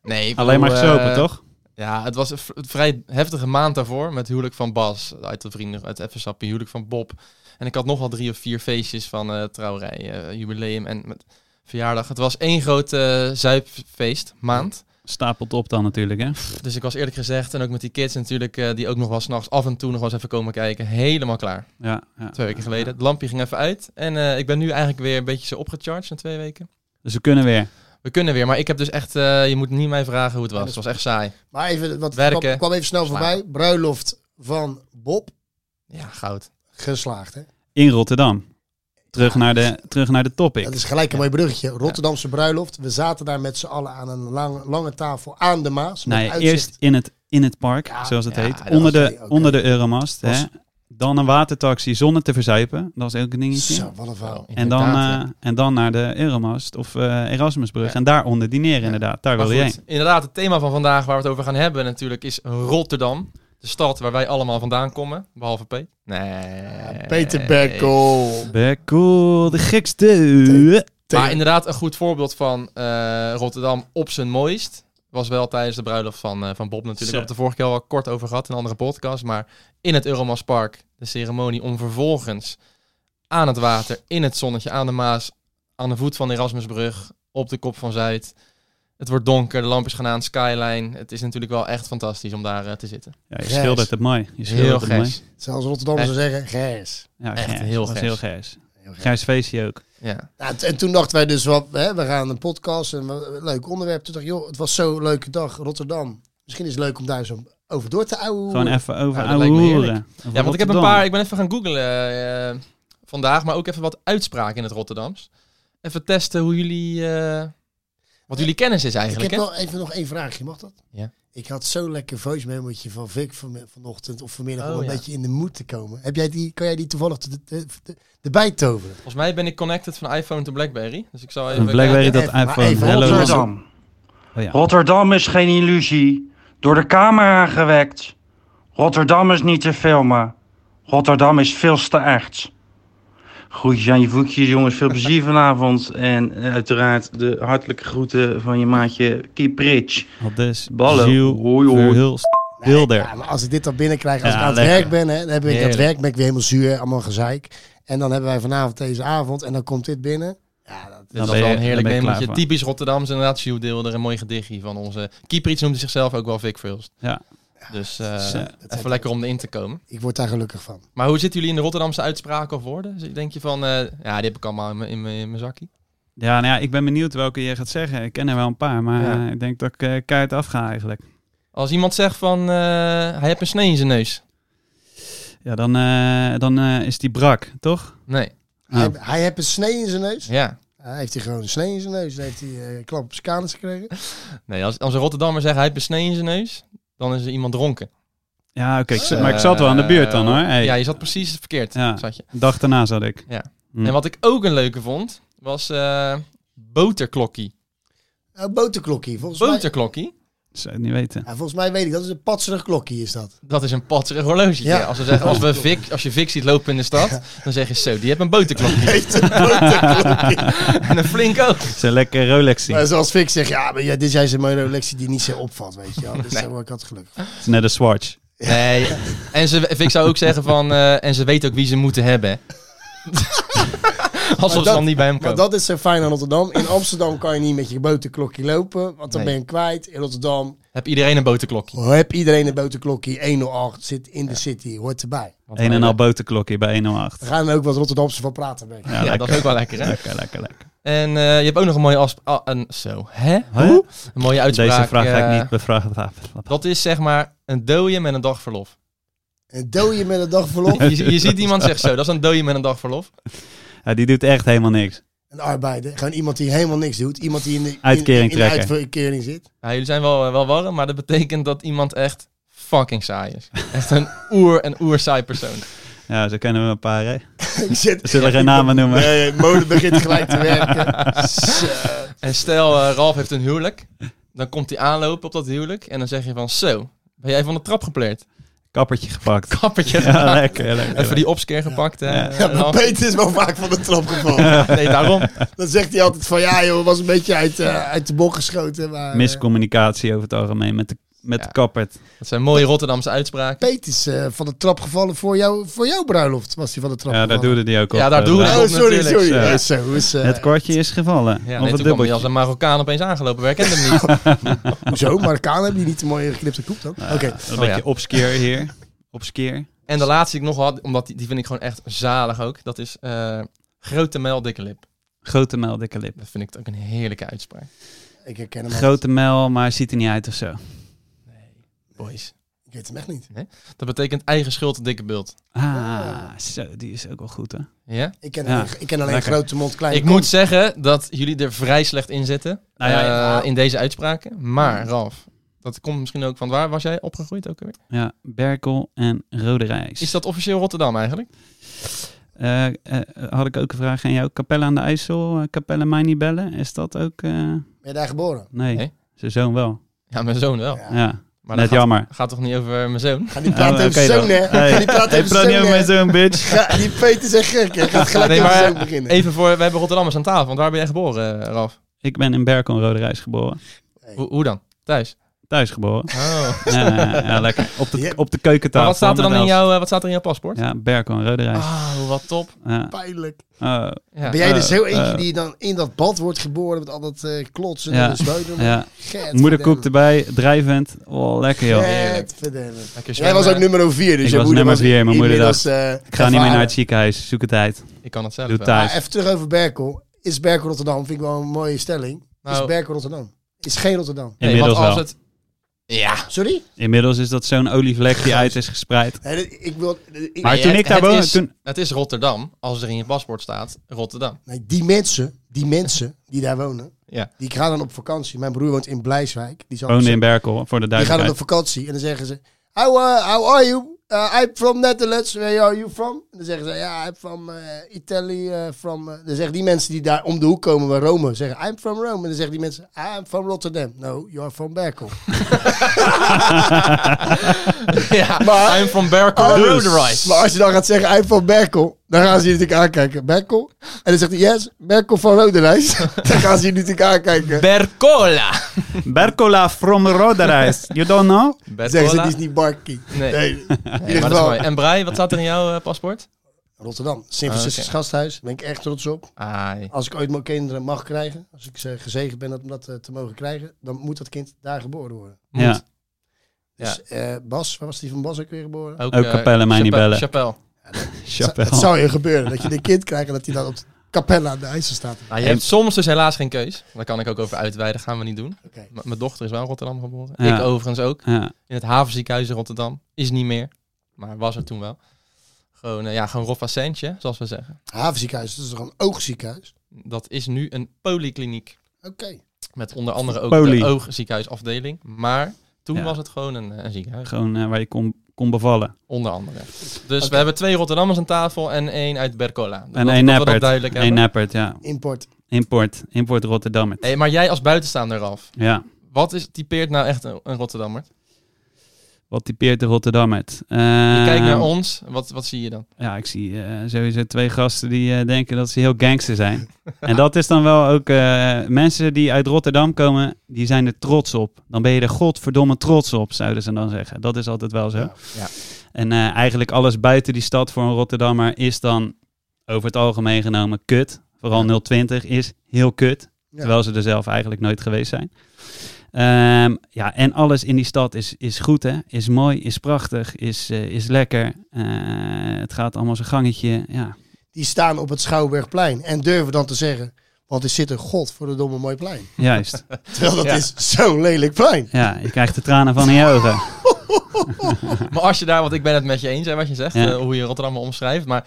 Speaker 2: Nee, ik
Speaker 3: Alleen maar
Speaker 2: bedoel,
Speaker 3: gesopen,
Speaker 2: eh,
Speaker 3: toch?
Speaker 2: Ja, het was een v- een vrij heftige maand daarvoor. Met huwelijk van Bas, uit de vrienden, uit Effensap, huwelijk van Bob. En ik had nogal drie of vier feestjes van eh, trouwerij, eh, jubileum en met verjaardag. Het was één groot eh, zuipfeest, maand.
Speaker 3: Stapelt op dan natuurlijk, hè?
Speaker 2: Dus ik was eerlijk gezegd, en ook met die kids natuurlijk, eh, die ook nog wel s'nachts af en toe nog wel eens even komen kijken. Helemaal klaar.
Speaker 3: Ja, ja.
Speaker 2: Twee weken geleden. Het lampje ging even uit. En eh, ik ben nu eigenlijk weer een beetje zo opgecharged na twee weken.
Speaker 3: Dus we kunnen weer.
Speaker 2: We kunnen weer, maar ik heb dus echt, eh, je moet niet mij vragen hoe het was.
Speaker 1: Ja,
Speaker 2: Het
Speaker 1: dat-
Speaker 2: was echt saai.
Speaker 1: Maar even, wat
Speaker 2: Werken.
Speaker 1: kwam, kwam even snel voorbij. Bruiloft van Bob.
Speaker 2: Ja, goud.
Speaker 1: Geslaagd, hè?
Speaker 3: In Rotterdam. Terug naar de, terug naar de topic.
Speaker 1: Dat is gelijk een mooi bruggetje. Rotterdamse bruiloft. We zaten daar met z'n allen aan een lang, lange tafel aan de Maas. met
Speaker 3: Nee,
Speaker 1: uitzicht.
Speaker 3: eerst in het, in het park,
Speaker 1: Ja,
Speaker 3: zoals het
Speaker 2: ja,
Speaker 3: heet.
Speaker 2: dat
Speaker 3: Onder
Speaker 1: was-
Speaker 3: de,
Speaker 1: oké.
Speaker 3: onder de Euromast. Hè?
Speaker 1: Was-
Speaker 3: Dan een watertaxi zonder te verzuipen. Dat was ook een dingetje.
Speaker 1: Zo, wat een verhaal.
Speaker 3: En dan, eh, en dan naar de Euromast of eh, Erasmusbrug.
Speaker 2: Ja.
Speaker 3: En daaronder dineren inderdaad. Daar
Speaker 2: Maar
Speaker 3: wil je
Speaker 2: goed, inderdaad, het thema van vandaag waar we het over gaan hebben natuurlijk is Rotterdam. De stad waar wij allemaal vandaan komen, behalve Peter. Nee.
Speaker 3: Eh,
Speaker 1: Ja, Peter Berkel.
Speaker 3: heen. Cool, de gekste.
Speaker 2: Maar inderdaad, een goed voorbeeld van eh, Rotterdam op zijn mooist. Was wel tijdens de bruiloft van, eh, van Bob natuurlijk. We
Speaker 3: Zo.
Speaker 2: hebben het de vorige keer al wel kort over gehad in een andere podcast. Maar in het Euromas Park, de ceremonie om vervolgens aan het water, in het zonnetje, aan de Maas, aan de voet van de Erasmusbrug, op de kop van Zuid. Het wordt donker, de lampjes gaan aan, skyline. Het is natuurlijk wel echt fantastisch om daar eh, te zitten.
Speaker 3: Ja, je
Speaker 1: Grijs.
Speaker 3: schildert het mooi.
Speaker 2: Heel
Speaker 3: Je schildert het mooi.
Speaker 2: grijs.
Speaker 1: Zoals Rotterdam
Speaker 3: Eh.
Speaker 1: zou zeggen, grijs.
Speaker 3: Ja,
Speaker 2: Echt
Speaker 3: grijs.
Speaker 2: heel
Speaker 3: Dat was
Speaker 2: grijs.
Speaker 3: heel grijs.
Speaker 1: Heel grijs.
Speaker 3: Grijs feestje ook.
Speaker 2: Ja.
Speaker 1: Nou, t- en toen dachten wij dus, wat, hè, we gaan een podcast en een leuk onderwerp. Toen dacht ik, joh, het was zo'n leuke dag, Rotterdam. Misschien is het leuk om daar zo over door te ouwen.
Speaker 3: Gewoon even over
Speaker 2: dat
Speaker 3: ouwe
Speaker 2: lijkt me
Speaker 3: hoeren.
Speaker 2: heerlijk.
Speaker 3: Over
Speaker 2: ja, want ik heb een
Speaker 3: Rotterdam.
Speaker 2: paar, ik ben even gaan googlen eh, vandaag, maar ook even wat uitspraken in het Rotterdams. Even testen hoe jullie, eh, wat jullie kennis is
Speaker 1: Ik
Speaker 2: eigenlijk.
Speaker 1: heb
Speaker 2: Hè?
Speaker 1: wel even nog één vraagje, mag dat?
Speaker 2: Ja.
Speaker 1: Ik had zo'n lekker voice memootje van Vic van, vanochtend of vanmiddag om
Speaker 2: Oh,
Speaker 1: een
Speaker 2: ja.
Speaker 1: beetje in de moed te komen. Heb jij die, kan jij die toevallig te- te- te- erbij toveren?
Speaker 2: Volgens mij ben ik connected van iPhone to Blackberry. Dus ik zal even
Speaker 3: Een Blackberry dat
Speaker 1: Even, maar
Speaker 3: iPhone.
Speaker 1: even
Speaker 3: Hello.
Speaker 5: Rotterdam.
Speaker 3: Oh ja.
Speaker 5: Rotterdam is geen illusie. Door de camera gewekt. Rotterdam is niet te filmen. Rotterdam is veel te echt. Groetjes aan je voetjes, jongens. Veel plezier vanavond. En eh, uiteraard de hartelijke groeten van je maatje Kiprich.
Speaker 3: Al dus.
Speaker 5: Ballen.
Speaker 3: Giel
Speaker 5: Hoi, hoi.
Speaker 3: Verhulst.
Speaker 1: Nee,
Speaker 3: Wilder.
Speaker 1: ja, maar als ik dit dan binnenkrijg, als
Speaker 3: Ja,
Speaker 1: ik aan het
Speaker 3: lekker.
Speaker 1: werk ben, hè, dan heb ik aan het
Speaker 2: Heerlijk.
Speaker 1: werk, ben ik weer helemaal zuur, allemaal gezeik. En dan hebben wij vanavond deze avond en dan komt dit binnen. Ja, dat,
Speaker 2: Dat is
Speaker 3: ben
Speaker 2: wel
Speaker 3: je-
Speaker 2: een heerlijk
Speaker 3: dan ben je
Speaker 2: memootje.
Speaker 3: klaar voor.
Speaker 2: Typisch Rotterdamse inderdaad. Sjoerd deelde er een mooi gedichtje van onze... Kieprits noemde zichzelf ook wel Vic Vulst.
Speaker 3: Ja.
Speaker 2: Dus eh,
Speaker 3: Dus, eh,
Speaker 2: even lekker om erin te komen.
Speaker 1: ik word daar gelukkig van.
Speaker 2: Maar hoe zitten jullie in de Rotterdamse uitspraken of woorden? Denk je van, eh, ja, die heb ik allemaal in mijn- in mijn in mijn zakkie?
Speaker 3: Ja, nou ja, ik ben benieuwd welke je gaat zeggen. Ik ken er wel een paar, maar
Speaker 2: Ja.
Speaker 3: eh, ik denk dat ik eh, keihard afga eigenlijk.
Speaker 2: Als iemand zegt van, eh, hij heeft een snee in zijn neus.
Speaker 3: ja, dan, eh, dan eh, is die brak, toch?
Speaker 2: Nee.
Speaker 1: Hij, hij heeft een snee in zijn neus.
Speaker 2: Ja.
Speaker 1: Hij heeft hij gewoon een snee in zijn neus. Dan heeft hij eh, klap op zijn kanus gekregen.
Speaker 2: Nee, als, als een Rotterdammer zegt hij heeft besneden in zijn neus, dan is er iemand dronken.
Speaker 3: Ja, oké. ik zat-
Speaker 2: Eh,
Speaker 3: maar ik zat wel aan de buurt dan, hoor. Hey,
Speaker 2: Ja, je zat precies verkeerd.
Speaker 3: Ja.
Speaker 2: Zat je.
Speaker 3: dag daarna zat ik. Hm.
Speaker 2: En wat ik ook een leuke vond, was eh boterklokkie.
Speaker 1: Een boterklokkie. Volgens, mij,
Speaker 2: Boterklokkie,
Speaker 3: Zou je het niet weten.
Speaker 1: ja, volgens mij weet ik, dat is een patserig klokkie is dat.
Speaker 2: dat is een patserig horloge.
Speaker 1: Ja.
Speaker 2: Ja. Als, we zeggen, als, we Vic, als je Vic ziet lopen in de stad, dan zeg je zo, die heeft een boterklokkie.
Speaker 1: Heet een boterklokkie.
Speaker 2: en een flink ook.
Speaker 3: Het is een lekker Rolex.
Speaker 1: maar zoals Fik zegt, ja, maar ja, dit zijn zijn mooie lectie die niet zo opvalt, weet je wel. Dus daar word ik altijd gelukkig van.
Speaker 3: Het is net een Swatch.
Speaker 2: Nee, en ze, Vic zou ook zeggen van, eh, en ze weten ook wie ze moeten hebben. Alsof ze
Speaker 1: dat-
Speaker 2: dan niet bij hem
Speaker 1: Maar
Speaker 2: komen.
Speaker 1: dat is zo fijn aan Rotterdam. In Amsterdam kan je niet met je boterklokkie lopen, want dan
Speaker 2: Nee.
Speaker 1: ben je kwijt. In Rotterdam
Speaker 2: Heb iedereen een boterklokje.
Speaker 1: heb iedereen een boterklokkie. 108 zit in de city, hoort erbij.
Speaker 3: Een en al boterklokje bij 108.
Speaker 1: We gaan er ook wat Rotterdamse van praten, denk ik.
Speaker 3: Ja,
Speaker 2: Ja,
Speaker 3: lekker.
Speaker 2: dat is ook wel lekker, hè?
Speaker 3: Lekker, lekker, lekker.
Speaker 2: En eh, je hebt ook nog een mooie afspraak. een, zo, hè?
Speaker 3: Huh?
Speaker 2: Hoe? Een mooie uitspraak.
Speaker 3: Deze vraag ga
Speaker 2: eh,
Speaker 3: ik niet bevragen.
Speaker 2: Dat is zeg maar een dooie met een dagverlof.
Speaker 1: En dooi je met een dagverlof.
Speaker 2: Je, je ziet iemand zeggen zo, dat is een dooie met een dagverlof.
Speaker 3: Ja, die doet echt helemaal niks.
Speaker 1: Een arbeider. Gewoon iemand die helemaal niks doet. Iemand die in de, in-
Speaker 3: Uitkering
Speaker 1: in de
Speaker 3: trekken.
Speaker 1: uitkering zit.
Speaker 2: Ja, jullie zijn wel, eh, wel warm, maar dat betekent dat iemand echt fucking saai is. Echt een oer, een oer saai persoon.
Speaker 3: Ja, zo kennen we een paar, hè?
Speaker 1: Ik zit,
Speaker 3: We zullen geen namen noemen.
Speaker 1: Nee, mode begint gelijk te werken. Zo.
Speaker 2: En stel, eh, Ralf heeft een huwelijk. Dan komt hij aanlopen op dat huwelijk en dan zeg je van zo, ben jij van de trap gepleerd?
Speaker 3: Kappertje gepakt.
Speaker 2: Kappertje.
Speaker 3: Ja, lekker, lekker.
Speaker 2: Even die opskeer gepakt. hè,
Speaker 3: Ja.
Speaker 1: Ja, maar
Speaker 2: Ralf.
Speaker 1: Peter is wel vaak van de trap gevallen.
Speaker 2: nee, daarom.
Speaker 1: Dan zegt hij altijd van ja joh, was een beetje uit, eh, uit de bok geschoten. Maar, eh,
Speaker 3: Miscommunicatie over het algemeen met de, met
Speaker 2: Ja.
Speaker 3: de kappert.
Speaker 2: Dat zijn mooie Rotterdamse uitspraken.
Speaker 1: Peter is eh, van de trap gevallen voor, jou, voor jouw bruiloft. Was hij van de trap
Speaker 3: Ja, daar
Speaker 1: gevallen.
Speaker 3: doet die ook op.
Speaker 2: Ja, daar
Speaker 3: eh,
Speaker 2: doen we
Speaker 3: de-
Speaker 2: het.
Speaker 1: Oh, sorry,
Speaker 2: Natuurlijk,
Speaker 1: sorry.
Speaker 3: zo.
Speaker 1: Ja, zo is, eh,
Speaker 3: Het kwartje is gevallen.
Speaker 2: Ja,
Speaker 3: of
Speaker 2: nee,
Speaker 3: het
Speaker 2: toen kwam hij
Speaker 3: dubbeltje.
Speaker 2: als een Marokkaan opeens aangelopen. Wij kenden hem niet.
Speaker 1: Hoezo? Marokkaan hebben die niet de mooie geknipte koep dan? Oké.
Speaker 3: Een
Speaker 2: Oh, ja.
Speaker 3: beetje obscure hier. Obscure.
Speaker 2: En de laatste die ik nog had, omdat die, die vind ik gewoon echt zalig ook. Dat is eh, grote mel, dikke lip.
Speaker 3: Grote mel, dikke lip.
Speaker 2: Dat vind ik ook een heerlijke uitspraak.
Speaker 1: Ik herken hem al.
Speaker 3: Grote mel, maar ziet er niet uit of zo.
Speaker 2: Boys.
Speaker 1: Ik weet hem echt niet.
Speaker 2: Dat betekent eigen schuld, dikke bult. Oh.
Speaker 3: Ah, zo, die is ook wel goed, hè?
Speaker 2: Ja?
Speaker 1: Ik ken,
Speaker 3: Ja.
Speaker 1: alleen, ik ken alleen
Speaker 3: Lekker.
Speaker 1: grote mond, klein
Speaker 2: Ik moet zeggen dat jullie er vrij slecht in zitten.
Speaker 3: Nou ja,
Speaker 2: eh,
Speaker 3: ja.
Speaker 2: In deze uitspraken. Maar, Ralf, dat komt misschien ook van waar was jij opgegroeid ook alweer?
Speaker 3: Ja, Berkel en Rode Rijs.
Speaker 2: Is dat officieel Rotterdam eigenlijk?
Speaker 3: Eh, eh, had ik ook een vraag aan jou. Capelle aan de IJssel, eh, Capelle mij niet bellen. Is dat ook... eh,
Speaker 1: Ben je daar geboren?
Speaker 3: nee,
Speaker 2: Nee.
Speaker 3: zijn zoon wel.
Speaker 2: Ja, mijn zoon wel.
Speaker 1: Ja.
Speaker 3: Ja,
Speaker 2: Maar
Speaker 3: net
Speaker 2: dat gaat,
Speaker 3: jammer.
Speaker 2: gaat toch niet over mijn zoon?
Speaker 1: Ga die praten
Speaker 3: Ja,
Speaker 1: over
Speaker 3: oké dan.
Speaker 1: zoon, hè?
Speaker 3: Hey.
Speaker 1: Ga die praten
Speaker 3: Hey,
Speaker 1: over
Speaker 3: praat
Speaker 1: zoon,
Speaker 3: niet over
Speaker 1: hè?
Speaker 3: mijn zoon, bitch.
Speaker 1: Ga- Die Peter zegt gek, hè? Gaat gelijk
Speaker 2: Nee,
Speaker 1: over
Speaker 2: maar-
Speaker 1: zoon beginnen.
Speaker 2: Even voor, we hebben Rotterdammers aan tafel, want waar ben jij geboren, eh, Ralf?
Speaker 3: Ik ben in Berkel en Rode Rijs geboren.
Speaker 2: Hoe, hoe dan? Thuis?
Speaker 3: Thuis geboren.
Speaker 2: Oh.
Speaker 3: ja, ja, ja, lekker. Op de,
Speaker 1: Ja.
Speaker 3: op de keukentafel.
Speaker 2: Maar wat staat er dan
Speaker 3: met
Speaker 2: in
Speaker 3: Els.
Speaker 2: jouw, eh, wat staat er in jouw paspoort?
Speaker 3: Ja, Berkel en Rode Rijs.
Speaker 2: Ah, wat top.
Speaker 3: Ja.
Speaker 1: Pijnlijk.
Speaker 3: Oh,
Speaker 2: Ja.
Speaker 1: Ben jij dus
Speaker 3: Eh,
Speaker 1: zo eentje
Speaker 3: eh.
Speaker 1: die dan in dat bad wordt geboren met al dat eh, klotsen
Speaker 3: Ja.
Speaker 1: en de zweunen?
Speaker 3: ja.
Speaker 1: Get
Speaker 3: Moederkoek erbij, drijvend. Oh, lekker joh.
Speaker 2: Lekker
Speaker 1: Jij was ook
Speaker 2: zwemmen.
Speaker 1: nummer 4, dus
Speaker 3: Ik
Speaker 1: je
Speaker 3: was
Speaker 1: moeder
Speaker 3: nummer
Speaker 1: was
Speaker 3: vier, mijn moeder
Speaker 1: inmiddels, eh,
Speaker 3: Ik ga niet meer naar
Speaker 1: ervaren.
Speaker 3: het ziekenhuis. Zoek het uit.
Speaker 2: Ik kan het zelf
Speaker 3: Doe
Speaker 2: wel.
Speaker 3: thuis.
Speaker 1: Maar even terug over Berkel. Is Berkel Rotterdam? Vind ik wel een mooie stelling.
Speaker 2: Nou.
Speaker 1: Is Berkel Rotterdam? Is geen Rotterdam.
Speaker 2: Nee,
Speaker 3: Inmiddels
Speaker 2: want als
Speaker 3: wel.
Speaker 2: Het... Ja.
Speaker 1: Sorry?
Speaker 3: Inmiddels is dat zo'n olievlek die uit is gespreid.
Speaker 1: Nee, dit- ik wil, ik-
Speaker 3: Maar
Speaker 2: Nee,
Speaker 3: toen
Speaker 2: het-
Speaker 3: ik daar
Speaker 2: het
Speaker 3: woonde,
Speaker 2: is-
Speaker 3: toen-
Speaker 2: Het is Rotterdam, als er in je paspoort staat, Rotterdam.
Speaker 1: nee, die mensen, die mensen die daar wonen,
Speaker 2: Ja.
Speaker 1: die gaan dan op vakantie. Mijn broer woont in Blijswijk. Die, zal
Speaker 3: Woonde in Berkel, voor
Speaker 1: die gaan dan
Speaker 3: de duidelijkheid.
Speaker 1: op vakantie en dan zeggen ze, how, uh, how are you? Uh, I'm from Netherlands. Where are you from? En dan zeggen ze, ja, I'm from eh, Italy. eh, from, eh." dan zeggen die mensen die daar om de hoek komen bij Rome, zeggen, I'm from Rome. En dan zeggen die mensen, I'm from Rotterdam. No, you're from Berkel.
Speaker 2: ja,
Speaker 1: Maar-
Speaker 2: I'm from Berkel
Speaker 1: Oh,
Speaker 2: Road
Speaker 1: Maar als je dan gaat zeggen, hij van Berkel, dan gaan ze je natuurlijk aankijken. Berkel? En dan zegt hij, yes, Berkel van Rodenijs. dan gaan ze je natuurlijk aankijken.
Speaker 2: Bercola.
Speaker 3: Bercola from Roderijs. You don't know?
Speaker 1: Dan zeggen ze,
Speaker 2: Bercola.
Speaker 1: die is niet Barkie.
Speaker 2: Nee.
Speaker 1: Nee. In
Speaker 2: Nee,
Speaker 1: ieder
Speaker 2: maar dat is mooi.
Speaker 1: geval,
Speaker 2: En Brai, wat staat er in jouw eh, paspoort?
Speaker 1: Rotterdam, Sint-Franciscus
Speaker 2: Oké.
Speaker 1: gasthuis, daar ben ik echt trots op.
Speaker 2: Ai.
Speaker 1: Als ik ooit mijn kinderen mag krijgen, als ik ze gezegend ben om dat eh, te mogen krijgen, dan moet dat kind daar geboren worden.
Speaker 2: Moet.
Speaker 3: Ja.
Speaker 1: Dus eh, Bas, waar was die van Bas ook weer geboren?
Speaker 2: Ook,
Speaker 3: Ook
Speaker 2: eh,
Speaker 3: Capelle, mij niet
Speaker 2: Chappelle-
Speaker 3: bellen.
Speaker 2: Chappelle.
Speaker 1: Het
Speaker 3: Chappelle.
Speaker 1: zou je gebeuren, dat je een kind krijgt en dat hij dan op de capella aan de IJssel staat.
Speaker 2: Nou, je hebt soms dus helaas geen keus. Daar kan ik ook over uitweiden, gaan we niet doen.
Speaker 1: Oké.
Speaker 2: M- mijn dochter is wel in Rotterdam geboren.
Speaker 3: Ja.
Speaker 2: Ik overigens ook.
Speaker 3: Ja.
Speaker 2: In het havenziekenhuis in Rotterdam. Is niet meer. Maar was er toen wel. Gewoon, eh, ja, gewoon Rofacentje, zoals we zeggen.
Speaker 1: Havenziekenhuis, dat is toch een oogziekenhuis?
Speaker 2: Dat is nu een polykliniek.
Speaker 1: Oké.
Speaker 2: Met onder andere ook
Speaker 3: Poly.
Speaker 2: de oogziekenhuisafdeling. Maar toen
Speaker 3: Ja.
Speaker 2: was het gewoon een, een ziekenhuis.
Speaker 3: Gewoon eh, waar je kon, kon bevallen.
Speaker 2: Onder andere. Dus we hebben twee Rotterdammers aan tafel en één uit Bercola. Dat-
Speaker 3: En
Speaker 2: dat
Speaker 3: één
Speaker 2: we dat
Speaker 3: neppert.
Speaker 2: duidelijk
Speaker 3: Eén
Speaker 2: hebben.
Speaker 3: neppert, ja.
Speaker 1: Import.
Speaker 3: Import. Import Rotterdammer.
Speaker 2: Hey, maar jij als buitenstaander, Ralf.
Speaker 3: Ja.
Speaker 2: Wat is, typeert nou echt een, een Rotterdammer?
Speaker 3: Wat typeert de Rotterdammer? Eh
Speaker 2: Je kijkt naar ons, wat, wat zie je dan?
Speaker 3: Ja, ik zie eh, sowieso twee gasten die eh, denken dat ze heel gangster zijn. en dat is dan wel ook eh, mensen die uit Rotterdam komen, die zijn er trots op. Dan ben je er godverdomme trots op, zouden ze dan zeggen. Dat is altijd wel zo.
Speaker 2: ja.
Speaker 3: En eh, eigenlijk alles buiten die stad voor een Rotterdammer is dan over het algemeen genomen kut. Vooral 020 is heel kut,
Speaker 1: Ja.
Speaker 3: terwijl ze er zelf eigenlijk nooit geweest zijn. Ehm, ja, en alles in die stad is, is goed, hè? Is mooi, is prachtig, is, eh, is lekker. Eh, het gaat allemaal zijn gangetje. Ja,
Speaker 1: Die staan op het Schouwburgplein en durven dan te zeggen... Want er zit een god voor de domme mooi plein.
Speaker 3: juist.
Speaker 1: Terwijl dat
Speaker 2: Ja.
Speaker 1: is zo'n lelijk plein.
Speaker 3: Ja, je krijgt de tranen van in je ogen.
Speaker 2: Maar als je daar, want ik ben het met je eens, hè, wat je zegt,
Speaker 3: Ja.
Speaker 2: eh, hoe je Rotterdam omschrijft. Maar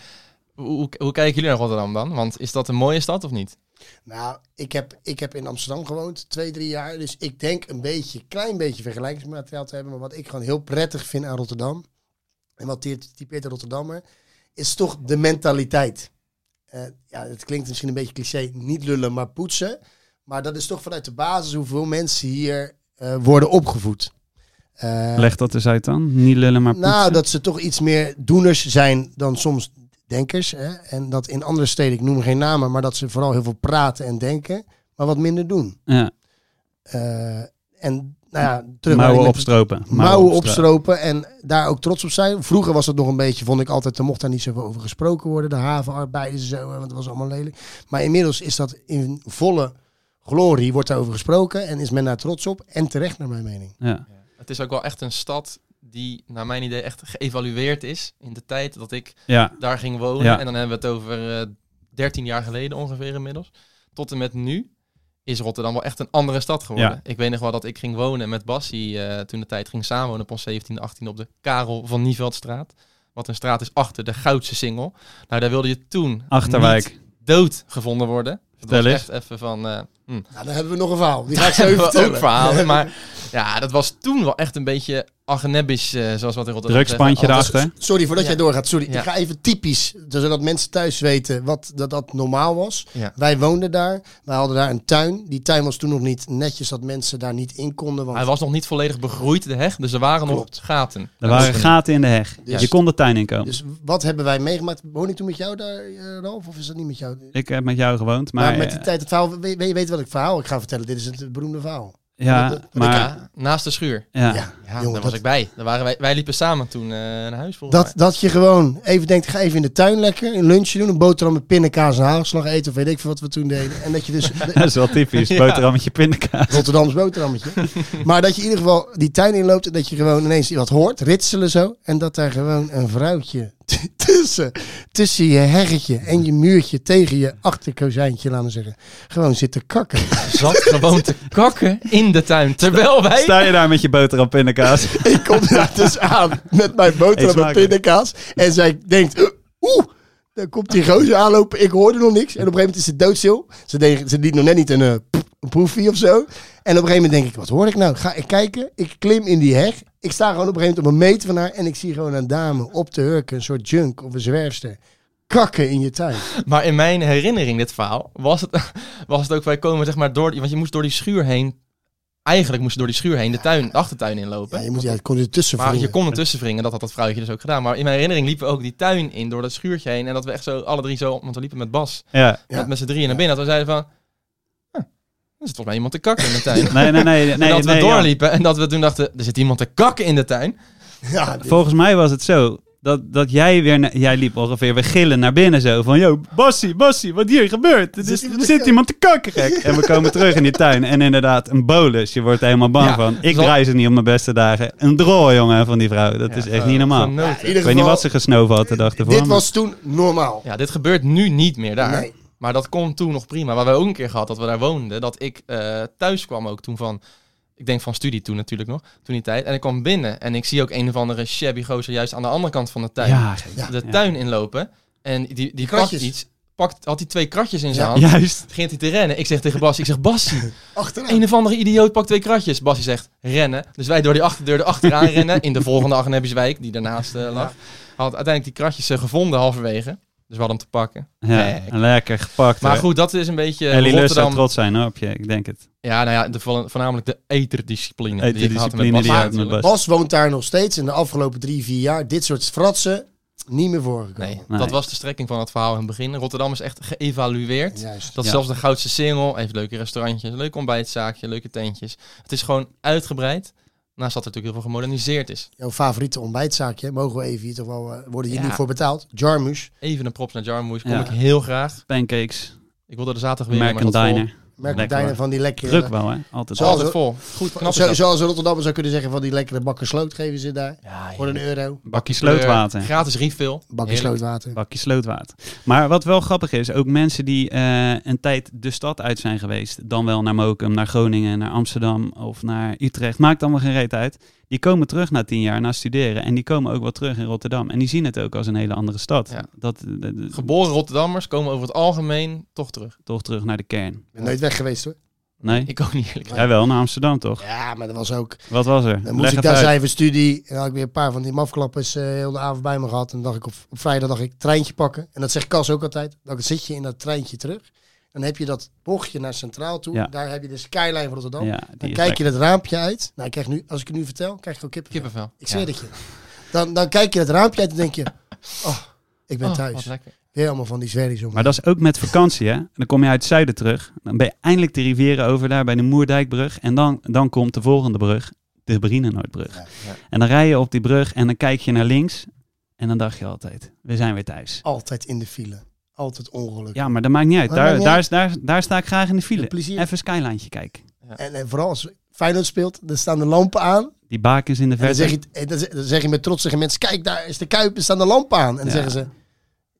Speaker 2: hoe, hoe, hoe kijken jullie naar Rotterdam dan? Want is dat een mooie stad of niet?
Speaker 1: Nou, ik heb, ik heb in Amsterdam gewoond, twee, drie jaar. Dus ik denk een beetje, klein beetje vergelijkingsmateriaal te hebben. Maar wat ik gewoon heel prettig vind aan Rotterdam, en wat typeert typeert de Rotterdammer, is toch de mentaliteit. Eh, ja, het klinkt misschien een beetje cliché, niet lullen, maar poetsen. Maar dat is toch vanuit de basis hoeveel mensen hier eh, worden opgevoed. Eh,
Speaker 3: Leg dat eens uit dan. Niet lullen, maar poetsen.
Speaker 1: nou, dat ze toch iets meer doeners zijn dan soms denkers. Hè? En dat in andere steden, ik noem geen namen, maar dat ze vooral heel veel praten en denken, maar wat minder doen.
Speaker 3: ja.
Speaker 1: Eh, en nou ja, terug naar
Speaker 3: Mouwen
Speaker 1: die-
Speaker 3: opstropen.
Speaker 1: Mouwen opstropen en daar ook trots op zijn. Vroeger was dat nog een beetje, vond ik altijd, er mocht daar niet zoveel over gesproken worden. De havenarbeiders en zo, hè, want dat was allemaal lelijk. Maar inmiddels is dat in volle glorie, wordt daarover gesproken en is men daar trots op. En terecht naar mijn mening.
Speaker 3: Ja.
Speaker 2: Het is ook wel echt een stad die, naar mijn idee, echt geëvalueerd is in de tijd dat ik
Speaker 3: ja,
Speaker 2: daar ging wonen.
Speaker 3: Ja.
Speaker 2: En dan hebben we het over eh, 13 jaar geleden ongeveer inmiddels. Tot en met nu is Rotterdam wel echt een andere stad geworden.
Speaker 3: Ja.
Speaker 2: Ik weet nog wel dat ik ging wonen met Bassie eh, toen de tijd ging samenwonen op ons 17, 18 op de Karel van Nieveldstraat. Wat een straat is achter de Goudse Singel. Nou, daar wilde je toen niet
Speaker 3: Achterwijk.
Speaker 2: dood gevonden worden. Dat
Speaker 3: Vertel
Speaker 2: was
Speaker 3: eens.
Speaker 2: echt even van... eh, hm.
Speaker 1: Nou, dan hebben we nog een verhaal. Die ga ik zo even
Speaker 2: We
Speaker 1: vertellen.
Speaker 2: ook verhalen, maar ja, dat was toen wel echt een beetje agnebisch, eh, zoals wat in Rotterdam
Speaker 3: Drugspandje
Speaker 2: zeggen.
Speaker 3: daarachter.
Speaker 1: Sorry voordat
Speaker 2: Ja.
Speaker 1: jij doorgaat. Sorry.
Speaker 2: Ja.
Speaker 1: Ik ga even typisch, zodat mensen thuis weten wat, dat dat normaal was.
Speaker 2: Ja.
Speaker 1: Wij woonden daar. Wij hadden daar een tuin. Die tuin was toen nog niet netjes dat mensen daar niet in konden. Want
Speaker 2: Hij was nog niet volledig begroeid, de heg, dus er waren
Speaker 1: Klopt.
Speaker 2: nog gaten.
Speaker 3: Er waren gaten in de heg.
Speaker 1: Dus-
Speaker 3: Je kon de tuin in komen.
Speaker 1: Dus wat hebben wij meegemaakt? Woon ik toen met jou daar, eh, Ralf? Of is dat niet met jou? Maar,
Speaker 3: ik heb met jou gewoond, maar,
Speaker 1: met die
Speaker 3: eh,
Speaker 1: tijd, het verhaal, weet, weet je wat ik verhaal ik ga vertellen? Dit is het beroemde verhaal.
Speaker 3: ja,
Speaker 1: met de-
Speaker 3: maar
Speaker 2: Ja, naast de schuur.
Speaker 3: ja,
Speaker 1: Ja,
Speaker 2: Ja, daar
Speaker 1: jongen,
Speaker 2: was
Speaker 1: dat-
Speaker 2: ik bij. Daar waren wij, wij liepen samen toen eh, naar huis volgens
Speaker 1: Dat, dat je gewoon even denkt, ik ga even in de tuin lekker een lunchje doen. Een boterham met pindakaas en haagslag eten of weet ik veel wat we toen deden. En dat je dus...
Speaker 3: dat is wel typisch.
Speaker 2: Ja.
Speaker 3: Boterhammetje pindakaas.
Speaker 1: Rotterdams boterhammetje. maar dat je in ieder geval die tuin inloopt en dat je gewoon ineens wat hoort, ritselen zo. En dat daar gewoon een vrouwtje t- tussen, tussen je heggetje en je muurtje tegen je achterkozijntje, laten we zeggen, gewoon zit te kakken.
Speaker 2: mij. Zat gewoon te kakken in de tuin, terwijl wij...
Speaker 3: Sta je daar met je boterham pindakaas?
Speaker 1: Ik kom daar dus aan met mijn
Speaker 3: Eet
Speaker 1: boterham en
Speaker 3: smakelijk.
Speaker 1: pindakaas. En zij denkt, oeh, daar komt die gozer aanlopen. Ik hoorde nog niks. En op een gegeven moment is het doodstil. Ze, deed, ze liet nog net niet een, eh, p- een proefie of zo. En op een gegeven moment denk ik, wat hoor ik nou? Ga ik kijken. Ik klim in die heg. Ik sta gewoon op een gegeven moment op een meter van haar. En ik zie gewoon een dame op de hurken, een soort junk of een zwerfster. Kakken in je tuin.
Speaker 2: Maar in mijn herinnering, dit verhaal, was het, was het ook... Wij komen zeg maar door... die- Want je moest door die schuur heen... Eigenlijk moest je door die schuur heen de, tuin, de achtertuin inlopen.
Speaker 1: Ja, je moet, ja, je kon er tussen
Speaker 2: Maar je
Speaker 1: wringen.
Speaker 2: kon ertussen wringen, dat had dat vrouwtje dus ook gedaan. Maar in mijn herinnering liepen we ook die tuin in door dat schuurtje heen. En dat we echt zo, alle drie zo, want we liepen met Bas,
Speaker 3: Ja.
Speaker 1: Ja.
Speaker 2: met, met z'n drieën naar binnen. Dat we zeiden van, "Huh, er zit volgens mij iemand te kakken in de tuin.
Speaker 3: Nee, nee, nee. nee,
Speaker 2: en dat we
Speaker 3: nee, ja.
Speaker 2: doorliepen en dat we toen dachten, er zit iemand te kakken in de tuin.
Speaker 1: Ja, dit-
Speaker 3: Volgens mij was het zo dat, dat jij weer... na- jij liep ongeveer weer gillen naar binnen zo van... Yo, Bassie, Bassie, wat hier gebeurt? Er
Speaker 1: Zit
Speaker 3: zit,
Speaker 1: iemand
Speaker 3: er
Speaker 1: te
Speaker 3: zit
Speaker 1: kakken?"
Speaker 3: iemand te kakken, gek. En we komen terug in die tuin en inderdaad een bolus. Je wordt er helemaal bang
Speaker 2: Ja,
Speaker 3: van. Ik
Speaker 2: zal-
Speaker 3: draai ze niet op mijn beste dagen. Een drooi, jongen, van die vrouw. Dat is echt
Speaker 2: Eh,
Speaker 3: niet normaal.
Speaker 2: genoten.
Speaker 1: in ieder
Speaker 3: Ik weet niet
Speaker 1: geval,
Speaker 3: wat ze gesnoven had de dag ervoor.
Speaker 1: Dit
Speaker 3: maar-
Speaker 1: was toen normaal.
Speaker 2: Ja, dit gebeurt nu niet meer daar.
Speaker 1: Nee.
Speaker 2: Maar dat kon toen nog prima. Waar we ook een keer gehad dat we daar woonden. Dat ik eh, thuis kwam ook toen van. Ik denk van studie toen natuurlijk nog, toen die tijd. En ik kwam binnen en ik zie ook een of andere shabby gozer juist aan de andere kant van de tuin.
Speaker 3: Ja,
Speaker 2: de
Speaker 3: ja.
Speaker 2: tuin inlopen en die, die pakt
Speaker 1: Kratjes.
Speaker 2: iets. Pakt, had hij twee kratjes in zijn
Speaker 1: Ja.
Speaker 2: hand.
Speaker 3: juist.
Speaker 2: Begint hij te rennen. Ik zeg tegen Bas, ik zeg Bassie,
Speaker 1: Achteraan.
Speaker 2: een of andere idioot pakt twee kratjes. Bassie zegt rennen. Dus wij door die achterdeur erachteraan rennen. In de volgende Agnebbiswijk, die daarnaast eh, lag. Had uiteindelijk die kratjes eh, gevonden halverwege. Dus we hadden hem te pakken.
Speaker 3: Ja, lekker gepakt.
Speaker 2: Maar
Speaker 3: hoor.
Speaker 2: goed, dat is een beetje
Speaker 3: Ellie Lust zou
Speaker 2: Rotterdam.
Speaker 3: trots zijn hoor, op je, ik denk het.
Speaker 2: Ja, nou ja, de, vo- voornamelijk de eterdiscipline. die ik had met
Speaker 3: Eterdiscipline
Speaker 2: Bas
Speaker 3: die je had met
Speaker 2: natuurlijk.
Speaker 3: Bas.
Speaker 1: Bas woont daar nog steeds. In de afgelopen drie, vier jaar. Dit soort fratsen niet meer voorgekomen.
Speaker 2: Nee,
Speaker 3: Nee.
Speaker 2: dat was de strekking van het verhaal in het begin. Rotterdam is echt geëvalueerd.
Speaker 1: Juist.
Speaker 2: Dat
Speaker 3: Ja.
Speaker 2: is zelfs de Goudse Singel heeft leuke restaurantjes, leuk ontbijtzaakje, leuke tentjes. Het is gewoon uitgebreid. Naast dat er natuurlijk heel veel gemoderniseerd is.
Speaker 1: Jouw favoriete ontbijtzaakje. Mogen we even hier toch wel... eh, worden hier
Speaker 2: Ja.
Speaker 1: nu voor betaald? Jarmusch.
Speaker 2: Even een props naar Jarmoes, kom
Speaker 3: Ja.
Speaker 2: ik heel graag.
Speaker 3: Pancakes,
Speaker 2: Ik wilde er zaterdag weer
Speaker 3: American
Speaker 2: maar dat
Speaker 3: Diner.
Speaker 1: Merk
Speaker 3: Lekker,
Speaker 1: daar
Speaker 3: hoor.
Speaker 1: van die lekkere...
Speaker 3: Druk wel hè, altijd.
Speaker 2: vol-
Speaker 1: Zoals-
Speaker 2: Altijd vol. Goed, knap is
Speaker 1: Zo,
Speaker 2: dat.
Speaker 1: zoals Rotterdam zou kunnen zeggen van die lekkere bakken sloot geven ze daar.
Speaker 2: Ja,
Speaker 1: Voor een euro.
Speaker 3: Bakje
Speaker 2: heerlijk.
Speaker 3: slootwater.
Speaker 2: Gratis refill.
Speaker 1: Bakken
Speaker 2: Heerlijk.
Speaker 1: slootwater.
Speaker 3: Bakje slootwater. Maar wat wel grappig is, ook mensen die eh, een tijd de stad uit zijn geweest, dan wel naar Mokum, naar Groningen, naar Amsterdam of naar Utrecht, maakt allemaal geen reet uit. Die komen terug na tien jaar, na studeren. En die komen ook wel terug in Rotterdam. En die zien het ook als een hele andere stad.
Speaker 2: Ja.
Speaker 3: Dat, eh, de- de-
Speaker 2: Geboren Rotterdammers komen over het algemeen toch terug.
Speaker 3: toch terug naar de kern.
Speaker 1: Ik ben nooit weg geweest hoor.
Speaker 3: Nee?
Speaker 2: Ik ook niet eerlijk. gezegd.
Speaker 3: Jij wel, naar Amsterdam toch?
Speaker 1: Ja, maar dat was ook...
Speaker 3: Wat was er?
Speaker 1: Dan moest
Speaker 3: Leg
Speaker 1: ik
Speaker 3: het
Speaker 1: daar
Speaker 3: uit.
Speaker 1: zijn voor studie. En dan had ik weer een paar van die mafklappers eh, heel de avond bij me gehad. En dan dacht ik op, op vrijdag dacht ik treintje pakken. En dat zegt Cas ook altijd. Dan zit je in dat treintje terug. Dan heb je dat bochtje naar Centraal toe.
Speaker 3: Ja.
Speaker 1: Daar heb je de skyline van Rotterdam.
Speaker 3: Ja, die
Speaker 1: dan
Speaker 3: is
Speaker 1: kijk
Speaker 3: lekker.
Speaker 1: je dat raampje uit. Nou, ik krijg nu, als ik het nu vertel, krijg ik ook kippenvel.
Speaker 2: Kippenvel.
Speaker 1: Ik zweer het je. Dan, dan kijk je dat raampje uit en denk je... Oh, ik ben
Speaker 2: Oh, wat
Speaker 1: thuis.
Speaker 2: lekker.
Speaker 1: Weer allemaal van die zwerries om.
Speaker 3: Maar dat is ook met vakantie, hè? En Dan kom je uit het zuiden terug. Dan ben je eindelijk de rivieren over daar bij de Moerdijkbrug. En dan, dan komt de volgende brug, de Brienenoordbrug.
Speaker 2: ja.
Speaker 3: En dan rij je op die brug en dan kijk je naar links. En dan dacht je altijd, we zijn weer thuis.
Speaker 1: Altijd in de file. Altijd ongeluk.
Speaker 3: Ja, maar dat maakt niet uit.
Speaker 1: Maar
Speaker 3: Daar,
Speaker 1: maakt niet
Speaker 3: daar, is- daar, daar sta ik graag in de file.
Speaker 1: Met plezier.
Speaker 3: Even een skylijntje kijken.
Speaker 1: En, en vooral als Feyenoord speelt, dan staan de lampen aan.
Speaker 3: Die bakens in de
Speaker 1: En dan
Speaker 3: verte.
Speaker 1: zeg, je, en dan, zeg- dan zeg je met trots tegen mensen, kijk daar is de Kuip, er staan de lampen aan. En dan
Speaker 3: Ja.
Speaker 1: zeggen ze,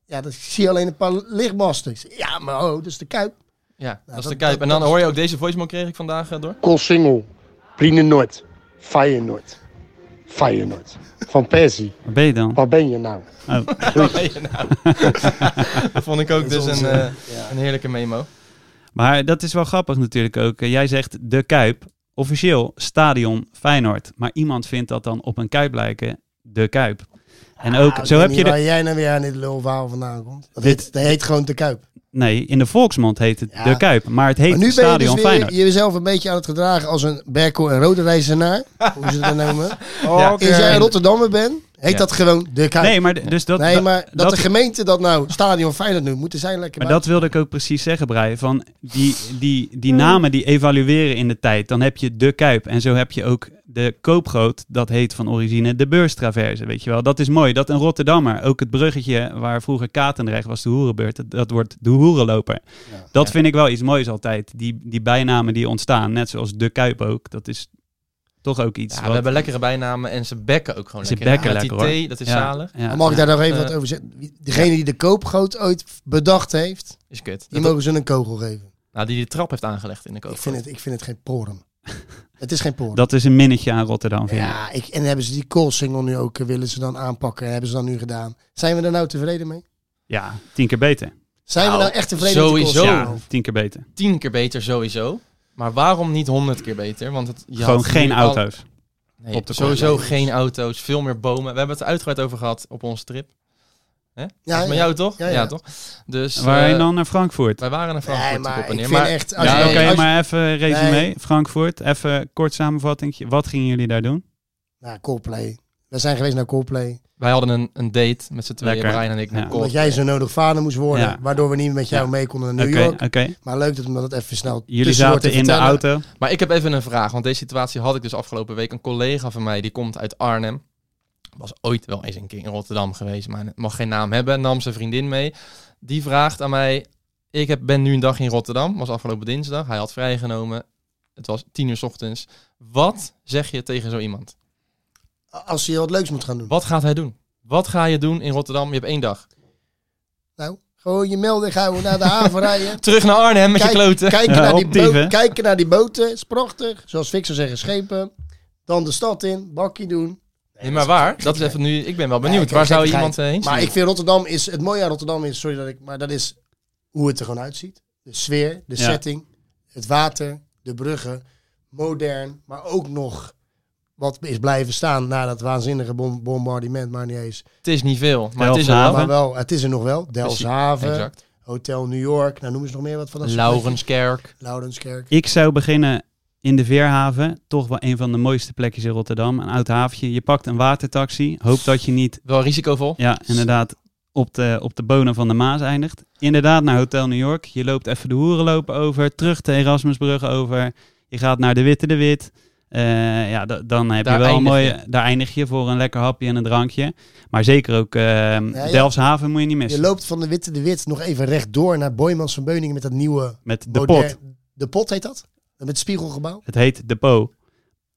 Speaker 1: ja, dat ik zie alleen een paar lichtmasten. Ik zeg, Ja, maar oh, dat is de Kuip.
Speaker 2: Ja, dat is
Speaker 1: Nou, dat-
Speaker 2: de Kuip.
Speaker 1: dat-
Speaker 2: En dan
Speaker 1: dat-
Speaker 2: hoor je ook deze voicemail kreeg ik vandaag eh, door.
Speaker 6: Koolsingel, Brienenoord, Feyenoord, Feyenoord. Van Persie,
Speaker 3: Waar ben je dan?
Speaker 6: waar ben je nou?
Speaker 2: Wat ben je nou? dat vond ik ook
Speaker 1: Dat is
Speaker 2: dus een,
Speaker 1: onze-
Speaker 2: eh, een heerlijke memo.
Speaker 3: Maar dat is wel grappig natuurlijk ook. Eh, Jij zegt de Kuip. Officieel stadion Feyenoord. Maar iemand vindt dat dan op een Kuip lijken de Kuip. En ook,
Speaker 1: Ah, ik
Speaker 3: zo
Speaker 1: weet
Speaker 3: heb
Speaker 1: niet
Speaker 3: je de,
Speaker 1: waar jij nou weer aan dit lulverhaal vandaan komt. Dat
Speaker 3: Dit-
Speaker 1: heet, dat heet gewoon de Kuip.
Speaker 3: Nee, in de volksmond heet het
Speaker 1: Ja.
Speaker 3: De Kuip. Maar het heet
Speaker 1: Maar nu ben je
Speaker 3: Stadion
Speaker 1: dus weer
Speaker 3: Feyenoord.
Speaker 1: jezelf een beetje aan het gedragen als een Berkel en Rode Reizenaar. hoe ze dat noemen. Als Oh, jij een Rotterdammer bent, heet
Speaker 2: Ja.
Speaker 1: dat gewoon de Kuip. Nee,
Speaker 3: Nee, maar d- dus dat,
Speaker 1: maar dat,
Speaker 3: dat,
Speaker 1: de gemeente dat nou Stadion Feyenoord noemt, moeten zij lekker
Speaker 3: maar
Speaker 1: bij.
Speaker 3: dat wilde ik ook precies zeggen, Brian. Van die, die, die namen die evalueren in de tijd. Dan heb je De Kuip. En zo heb je ook de Koopgroot. Dat heet van origine de Beurstraverse. Weet je wel, dat is mooi. Dat een Rotterdammer. Ook het bruggetje waar vroeger Katendrecht was de Hoerenbeurt. Dat, dat wordt de Hoerenloper. Dat vind ik wel iets moois altijd. Die, die bijnamen die ontstaan. Net zoals De Kuip ook. Dat is toch ook iets
Speaker 2: Ja, we
Speaker 3: wat...
Speaker 2: hebben lekkere bijnamen en ze bekken ook gewoon
Speaker 3: Ze
Speaker 2: lekker.
Speaker 3: bekken
Speaker 2: Met
Speaker 3: lekker,
Speaker 2: die T, dat is
Speaker 3: Ja,
Speaker 2: zalig.
Speaker 3: ja,
Speaker 1: Maar mag ik daar nog even
Speaker 2: Eh,
Speaker 1: wat over zeggen? Wie- Degene die de koopgoot ooit bedacht heeft,
Speaker 2: Is kut.
Speaker 1: die
Speaker 2: Dat-
Speaker 1: mogen ze een kogel geven.
Speaker 2: nou, die die trap heeft aangelegd in de koop.
Speaker 1: Ik vind, het, ik vind het geen porum. het is geen porum.
Speaker 3: Dat is een minnetje aan Rotterdam, vind ik.
Speaker 1: ja, ik, en hebben ze die callsingel nu ook, eh, willen ze dan aanpakken, hebben ze dan nu gedaan. Zijn we daar nou tevreden mee?
Speaker 3: Ja, tien keer beter.
Speaker 1: Zijn
Speaker 2: Nou,
Speaker 1: we nou echt tevreden met
Speaker 2: sowieso.
Speaker 1: de
Speaker 3: Ja,
Speaker 1: callsingel?
Speaker 3: tien keer beter.
Speaker 2: Tien keer beter sowieso. Maar waarom niet honderd keer beter? Want het, je
Speaker 3: Gewoon
Speaker 2: had
Speaker 3: geen
Speaker 2: nu al-
Speaker 3: auto's.
Speaker 2: Nee,
Speaker 3: op de
Speaker 2: sowieso
Speaker 1: kortlijn.
Speaker 2: geen auto's, veel meer bomen. We hebben het er uitgebreid over gehad op onze trip. Hè?
Speaker 1: Ja,
Speaker 2: Ja, met
Speaker 1: ja.
Speaker 2: jou toch?
Speaker 1: Ja,
Speaker 2: Ja,
Speaker 1: ja.
Speaker 2: toch? Dus
Speaker 3: Waarheen
Speaker 2: eh,
Speaker 3: dan naar Frankfurt?
Speaker 2: wij waren naar Frankfurt
Speaker 1: Nee,
Speaker 2: op
Speaker 1: maar
Speaker 2: en
Speaker 1: ik
Speaker 2: neer.
Speaker 1: vind
Speaker 2: Maar
Speaker 1: echt... Als
Speaker 2: Ja,
Speaker 1: je,
Speaker 3: Ja,
Speaker 2: nee,
Speaker 3: oké,
Speaker 1: als je-
Speaker 3: maar even resume.
Speaker 1: Nee.
Speaker 3: Frankfurt, even kort samenvatting. Wat gingen jullie daar doen?
Speaker 1: Nou, Coldplay. We zijn geweest naar Coldplay.
Speaker 2: wij hadden een, een date met z'n tweeën,
Speaker 3: Lekker.
Speaker 2: Brian en ik.
Speaker 3: Ja.
Speaker 2: naar
Speaker 3: Omdat
Speaker 1: Omdat
Speaker 2: Coldplay.
Speaker 1: jij zo nodig vader moest worden,
Speaker 3: Ja.
Speaker 1: waardoor we niet met jou
Speaker 3: Ja.
Speaker 1: mee konden naar
Speaker 3: Oké,
Speaker 1: New York.
Speaker 3: oké.
Speaker 1: Maar leuk dat we dat even snel
Speaker 3: Jullie
Speaker 1: tussendoor
Speaker 3: zaten
Speaker 1: te
Speaker 3: in de
Speaker 1: vertellen.
Speaker 3: auto.
Speaker 2: Maar ik heb even een vraag, want deze situatie had ik dus afgelopen week. Een collega van mij, die komt uit Arnhem. Was ooit wel eens een keer in Rotterdam geweest, maar mag geen naam hebben. Nam zijn vriendin mee. Die vraagt aan mij, ik heb, ben nu een dag in Rotterdam. Was afgelopen dinsdag, hij had vrijgenomen. Het was tien uur 's ochtends. Wat zeg je tegen zo iemand?
Speaker 1: Als je wat leuks moet gaan doen.
Speaker 2: Wat gaat hij doen? Wat ga je doen in Rotterdam? Je hebt één dag.
Speaker 1: Nou, Gewoon je melding houden naar de haven rijden.
Speaker 2: Terug naar Arnhem met je kloten.
Speaker 1: kijken,
Speaker 3: Ja,
Speaker 1: naar die
Speaker 3: optieven.
Speaker 1: boot- kijken naar die boten, is prachtig. Zoals Fik zou zeggen, schepen. Dan de stad in, bakkie doen.
Speaker 2: Nee, maar waar? Dat is even nu. Ik ben wel
Speaker 1: Nee,
Speaker 2: benieuwd.
Speaker 1: ik-
Speaker 2: Waar zou je
Speaker 1: gekkigheid.
Speaker 2: iemand heen?
Speaker 1: Maar ik vind Rotterdam is, het mooie aan Rotterdam is, sorry dat ik, maar dat is hoe het er gewoon uitziet. De sfeer, de
Speaker 3: Ja.
Speaker 1: setting, het water, de bruggen. Modern, maar ook nog wat is blijven staan na dat waanzinnige bom- bombardement, maar niet eens.
Speaker 2: Het is niet veel, maar het is er wel.
Speaker 3: Delfshaven.
Speaker 1: Maar wel, het is er nog wel. Delfshaven,
Speaker 2: Exact.
Speaker 1: Hotel New York, nou noem eens nog meer wat van Eh, dat soort
Speaker 2: Laurenskerk.
Speaker 1: plekjes. Laurenskerk.
Speaker 3: Ik zou beginnen in de Veerhaven. Toch wel een van de mooiste plekjes in Rotterdam. Een oud haventje. Je pakt een watertaxi. Hoop dat je niet,
Speaker 2: Wel risicovol.
Speaker 3: ja, inderdaad, op de, op de bonen van de Maas eindigt. Inderdaad, naar Hotel New York. Je loopt even de Hoerenloop over. Terug de Erasmusbrug over. Je gaat naar de Witte de Wit. Eh, ja, da- dan heb
Speaker 2: Daar
Speaker 3: je wel een
Speaker 2: eindig
Speaker 3: mooie... Daar eindig je voor een lekker hapje en een drankje. Maar zeker ook eh,
Speaker 1: ja.
Speaker 3: Delfshaven moet je niet missen.
Speaker 1: Je loopt van de Witte de Wit nog even rechtdoor naar Boymans van Beuningen met dat nieuwe...
Speaker 3: Met de
Speaker 1: moderne-
Speaker 3: pot.
Speaker 1: De pot heet dat? Met het spiegelgebouw?
Speaker 3: Het heet Depot.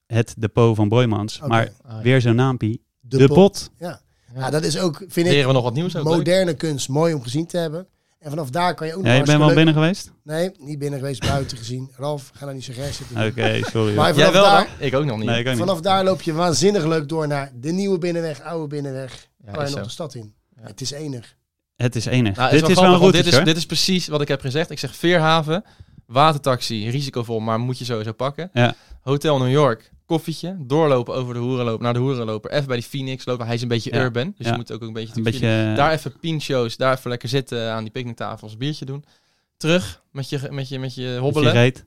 Speaker 3: Het Depot van Boymans.
Speaker 1: Oké.
Speaker 2: Ah,
Speaker 3: Maar weer zo'n naampie. De, pot.
Speaker 1: Ja. ja, dat is ook, vind ik,
Speaker 2: Leren we nog wat nieuws ook. leuk.
Speaker 1: moderne kunst. Mooi om gezien te hebben. En vanaf daar kan je ook nog
Speaker 3: Ja, je
Speaker 1: hartstikke
Speaker 3: bent wel
Speaker 1: leuk-
Speaker 3: binnen geweest?
Speaker 1: Nee, niet binnen geweest, buiten gezien. Ralf, ga nou niet zo gek zitten.
Speaker 3: Oké, sorry.
Speaker 1: Maar
Speaker 2: Jij
Speaker 1: vanaf,
Speaker 2: wel
Speaker 1: daar,
Speaker 2: dan? Ik ook nog niet.
Speaker 3: nee, ik ook niet.
Speaker 1: vanaf daar loop je waanzinnig leuk door naar de nieuwe binnenweg, oude binnenweg.
Speaker 2: Ja,
Speaker 1: kan
Speaker 2: is
Speaker 1: je nog
Speaker 2: zo.
Speaker 1: de stad in.
Speaker 2: Ja.
Speaker 1: Het is enig.
Speaker 3: Het is enig.
Speaker 2: Nou, het
Speaker 3: dit is wel
Speaker 2: grappig, want
Speaker 3: een route,
Speaker 2: dit, is, dit is precies wat ik heb gezegd. Ik zeg Veerhaven, watertaxi, risicovol, maar moet je sowieso pakken.
Speaker 3: Ja.
Speaker 2: Hotel New York, koffietje, doorlopen over de hoerenloop, naar de hoerenloper, even bij die Phoenix lopen. Hij is een beetje
Speaker 3: Ja.
Speaker 2: urban, dus
Speaker 3: Ja.
Speaker 2: je moet ook een beetje...
Speaker 3: Een beetje... eh,
Speaker 2: Daar even pincho's, daar even lekker zitten aan die picknicktafels, een biertje doen. Terug met je, met je, met je
Speaker 3: met je
Speaker 2: hobbelen,
Speaker 3: reet.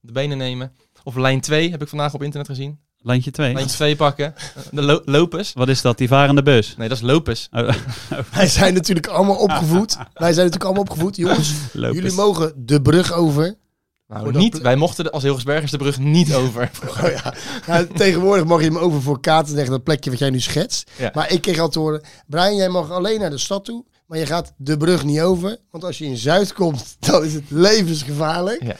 Speaker 2: de benen nemen. Of lijn 2, heb ik vandaag op internet gezien.
Speaker 3: Landje 2.
Speaker 2: Lijn 2 pakken. Eh, De lo lopers.
Speaker 3: Wat is dat? Die varende bus.
Speaker 2: Nee, dat is lopers.
Speaker 3: Oh,
Speaker 1: Wij zijn natuurlijk allemaal opgevoed. Wij zijn natuurlijk allemaal opgevoed. Jongens,
Speaker 3: lopers.
Speaker 1: jullie mogen de brug over.
Speaker 2: Nou,
Speaker 1: Voor dat
Speaker 2: niet.
Speaker 1: pla-
Speaker 2: Wij mochten de- als Hilgersbergers de brug niet over.
Speaker 1: Oh ja. Nou, tegenwoordig mag je hem over voor Katendrecht, dat plekje wat jij nu schetst.
Speaker 2: Ja.
Speaker 1: Maar ik kreeg al te horen, Brian, jij mag alleen naar de stad toe, maar je gaat de brug niet over. Want als je in Zuid komt, dan is het levensgevaarlijk.
Speaker 2: Ja.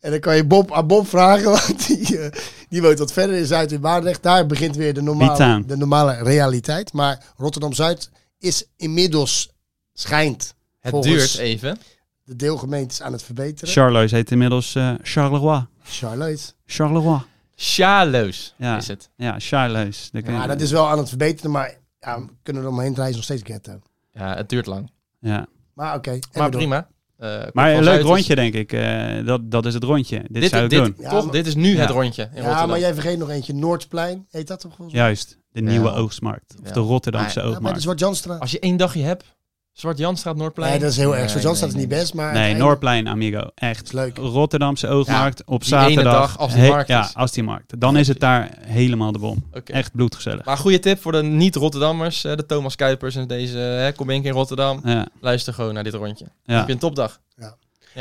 Speaker 1: En dan kan je Bob aan Bob vragen, want die, eh, die woont wat verder in Zuid in Baardrecht. Daar begint weer de normale,
Speaker 3: Bietaan.
Speaker 1: de normale realiteit. Maar Rotterdam-Zuid is inmiddels, schijnt,
Speaker 2: Het
Speaker 1: Volgens-
Speaker 2: duurt even.
Speaker 1: de deelgemeentes aan het verbeteren.
Speaker 3: Charlois heet inmiddels eh, Charleroi.
Speaker 1: Charlotte.
Speaker 3: Charleroi.
Speaker 2: Sjaloos
Speaker 3: Ja.
Speaker 2: is het.
Speaker 3: Ja, Charlois. Daar kun je-
Speaker 1: Ja, dat is wel aan het verbeteren, maar ja, we kunnen er omheen reizen nog steeds ghetto.
Speaker 2: Ja, het duurt lang.
Speaker 3: Ja.
Speaker 1: Maar oké. en
Speaker 2: Maar
Speaker 1: we doen.
Speaker 2: prima. Eh, Kop
Speaker 3: Maar
Speaker 2: van
Speaker 3: een leuk
Speaker 2: Zuid is-
Speaker 3: rondje, denk ik. Eh, dat, dat is het rondje. Dit,
Speaker 2: Dit,
Speaker 3: zou ik
Speaker 2: dit,
Speaker 3: doen.
Speaker 1: Ja,
Speaker 2: toch,
Speaker 1: maar-
Speaker 2: dit is nu
Speaker 3: Ja.
Speaker 2: het rondje in
Speaker 1: Ja,
Speaker 2: Rotterdam.
Speaker 1: maar jij vergeet nog eentje. Noordplein, heet dat toch volgens mij?
Speaker 3: Juist. De
Speaker 2: Ja.
Speaker 3: nieuwe oogstmarkt. Of
Speaker 2: Ja.
Speaker 3: de Rotterdamse
Speaker 2: Maar-
Speaker 1: Ja, bij de
Speaker 3: oogmarkt.
Speaker 1: Zwart-Janstraat.
Speaker 2: Als je één dagje hebt, Zwart-Janstraat, Noordplein.
Speaker 1: Nee, dat is heel erg.
Speaker 2: Nee,
Speaker 1: Zwart-Janstraat
Speaker 2: nee,
Speaker 1: is niet
Speaker 2: nee.
Speaker 1: best, maar...
Speaker 3: Nee,
Speaker 1: het-
Speaker 3: Noordplein, amigo. Echt.
Speaker 1: is leuk.
Speaker 3: Rotterdamse oogmarkt op
Speaker 2: die ene
Speaker 3: zaterdag.
Speaker 2: dag als die
Speaker 3: He-
Speaker 2: markt
Speaker 3: Ja,
Speaker 2: is.
Speaker 3: als die markt. Dan is het daar helemaal de bom.
Speaker 2: Oké.
Speaker 3: Echt bloedgezellig.
Speaker 2: Maar goede tip voor de niet-Rotterdammers, eh, de Thomas Kuipers en deze. hè, kom één keer in Rotterdam,
Speaker 3: Ja,
Speaker 2: luister gewoon naar dit rondje.
Speaker 3: ja.
Speaker 2: Heb je een topdag. Ja.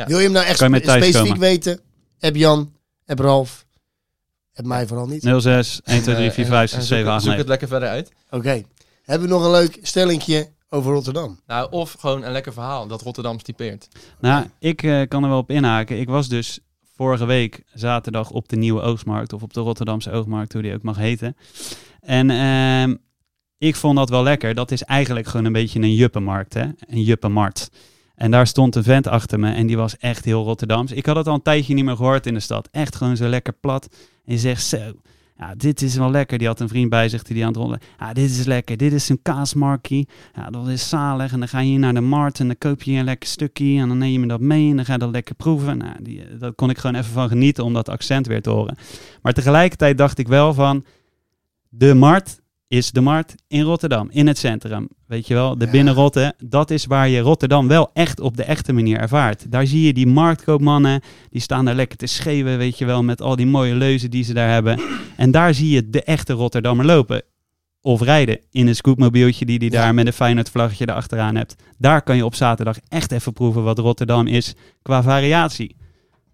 Speaker 1: Wil je hem nou echt
Speaker 3: Kan je met
Speaker 1: spe-
Speaker 3: thuis
Speaker 1: specifiek
Speaker 3: komen?
Speaker 1: weten? Heb Jan, heb Ralf, heb mij vooral niet.
Speaker 3: 06 1, 2, 3, 4, 5, 6, 7, 8,
Speaker 2: Eh, Zoek het
Speaker 3: 9.
Speaker 2: lekker verder uit.
Speaker 1: Oké. Hebben we nog een leuk stellingje over Rotterdam?
Speaker 2: Nou, of gewoon een lekker verhaal dat Rotterdam typeert.
Speaker 3: Nou, ik eh, kan er wel op inhaken. Ik was dus vorige week zaterdag op de Nieuwe Oogstmarkt. Of op de Rotterdamse Oogmarkt, hoe die ook mag heten. En ehm, ik vond dat wel lekker. Dat is eigenlijk gewoon een beetje een juppenmarkt, hè? Een juppenmarkt. En daar stond een vent achter me en die was echt heel Rotterdams. Ik had het al een tijdje niet meer gehoord in de stad. Echt gewoon zo lekker plat. En je zegt zo, ja, dit is wel lekker. Die had een vriend bij zich die die aan het rollen. Ja, dit is lekker. Dit is een kaasmarkie. Ja, dat is zalig. En dan ga je hier naar de markt en dan koop je hier een lekker stukje. En dan neem je dat mee en dan ga je dat lekker proeven. Nou, die, dat kon ik gewoon even van genieten om dat accent weer te horen. Maar tegelijkertijd dacht ik wel van, de markt is de markt in Rotterdam, in het centrum. Weet je wel, de
Speaker 1: Ja.
Speaker 3: binnenrotten. Dat is waar je Rotterdam wel echt op de echte manier ervaart. Daar zie je die marktkoopmannen, die staan daar lekker te schreeuwen, weet je wel, met al die mooie leuzen die ze daar hebben. En daar zie je de echte Rotterdammer lopen. Of rijden in een scootmobieltje die die
Speaker 1: Ja.
Speaker 3: daar met een Feyenoord vlaggetje erachteraan hebt. Daar kan je op zaterdag echt even proeven wat Rotterdam is qua variatie.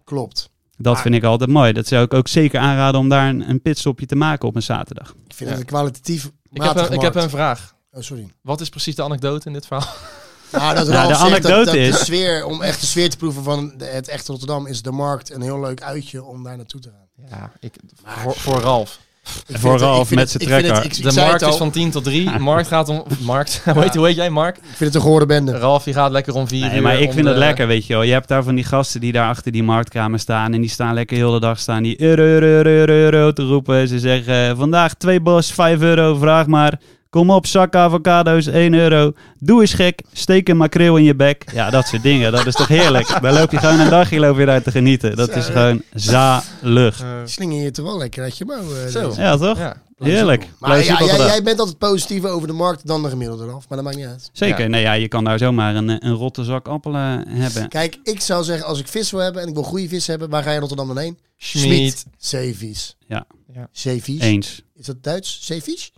Speaker 1: Klopt.
Speaker 3: Dat
Speaker 1: Ah.
Speaker 3: vind ik altijd mooi. Dat zou ik ook zeker aanraden om daar een, een pitstopje te maken op een zaterdag.
Speaker 1: Ik vind
Speaker 2: Ja.
Speaker 1: het een kwalitatief
Speaker 2: Ik heb, een,
Speaker 1: matige
Speaker 2: ik heb een
Speaker 1: markt.
Speaker 2: vraag.
Speaker 1: Oh, sorry.
Speaker 2: Wat is precies de anekdote in dit verhaal?
Speaker 1: Nou, dat
Speaker 3: Nou,
Speaker 1: Ralf
Speaker 3: de
Speaker 1: zegt dat-
Speaker 3: anekdote
Speaker 1: dat de
Speaker 3: is-
Speaker 1: sfeer, om echt de sfeer te proeven van de- het echte Rotterdam, is de markt een heel leuk uitje om daar naartoe te gaan.
Speaker 2: Ja, ik, voor, voor Ralf.
Speaker 1: vind
Speaker 3: Voor
Speaker 1: het-
Speaker 3: Ralf
Speaker 1: ik vind
Speaker 3: met
Speaker 1: het-
Speaker 3: zijn
Speaker 1: ik vind het-
Speaker 3: trekker.
Speaker 1: Ik, ik
Speaker 2: De
Speaker 1: zei
Speaker 2: markt
Speaker 1: het
Speaker 2: is
Speaker 1: al,
Speaker 2: van 10 tot 3. Markt gaat om... Markt, hoe, heet, hoe heet jij, Mark?
Speaker 1: ik vind het een gehoorde
Speaker 3: Eh.
Speaker 1: bende.
Speaker 2: Ralf, die gaat lekker om 4
Speaker 3: Nee,
Speaker 2: uur.
Speaker 3: maar ik
Speaker 2: om
Speaker 3: vind
Speaker 2: de-
Speaker 3: het lekker, weet je wel. Je hebt daar van die gasten die daar achter die marktkamer staan. En die staan lekker heel de dag staan die euro, euro, euro, euro, euro te roepen. Ze zeggen eh, vandaag twee bos, vijf euro, vraag maar. Kom op, zak avocado's, 1 euro. Doe eens gek, steek een makreel in je bek. Ja, dat soort dingen. Dat is toch heerlijk? Daar loop je gewoon een dagje loop je daar te genieten. Dat is gewoon zalig.
Speaker 2: Eh,
Speaker 1: Slinger je toch wel lekker uit je mouw. eh,
Speaker 2: Zo.
Speaker 1: deze.
Speaker 3: Ja, toch?
Speaker 2: ja.
Speaker 3: Heerlijk.
Speaker 1: Maar ja,
Speaker 3: Plezier
Speaker 1: jij,
Speaker 3: op de dag.
Speaker 1: jij bent altijd positiever over de markt dan de gemiddelde Ralf, maar dat maakt niet uit.
Speaker 3: Zeker.
Speaker 2: Ja.
Speaker 3: Nou ja, je kan daar zomaar een, eh, een rotte zak appelen hebben.
Speaker 1: Kijk, ik zou zeggen, als ik vis wil hebben en ik wil goede vis hebben, waar ga je in Rotterdam dan heen?
Speaker 2: Schmied.
Speaker 1: Zeevies.
Speaker 3: Ja.
Speaker 2: Ja.
Speaker 1: Zeevies.
Speaker 3: Eens.
Speaker 1: Is dat Duits? Zeevies?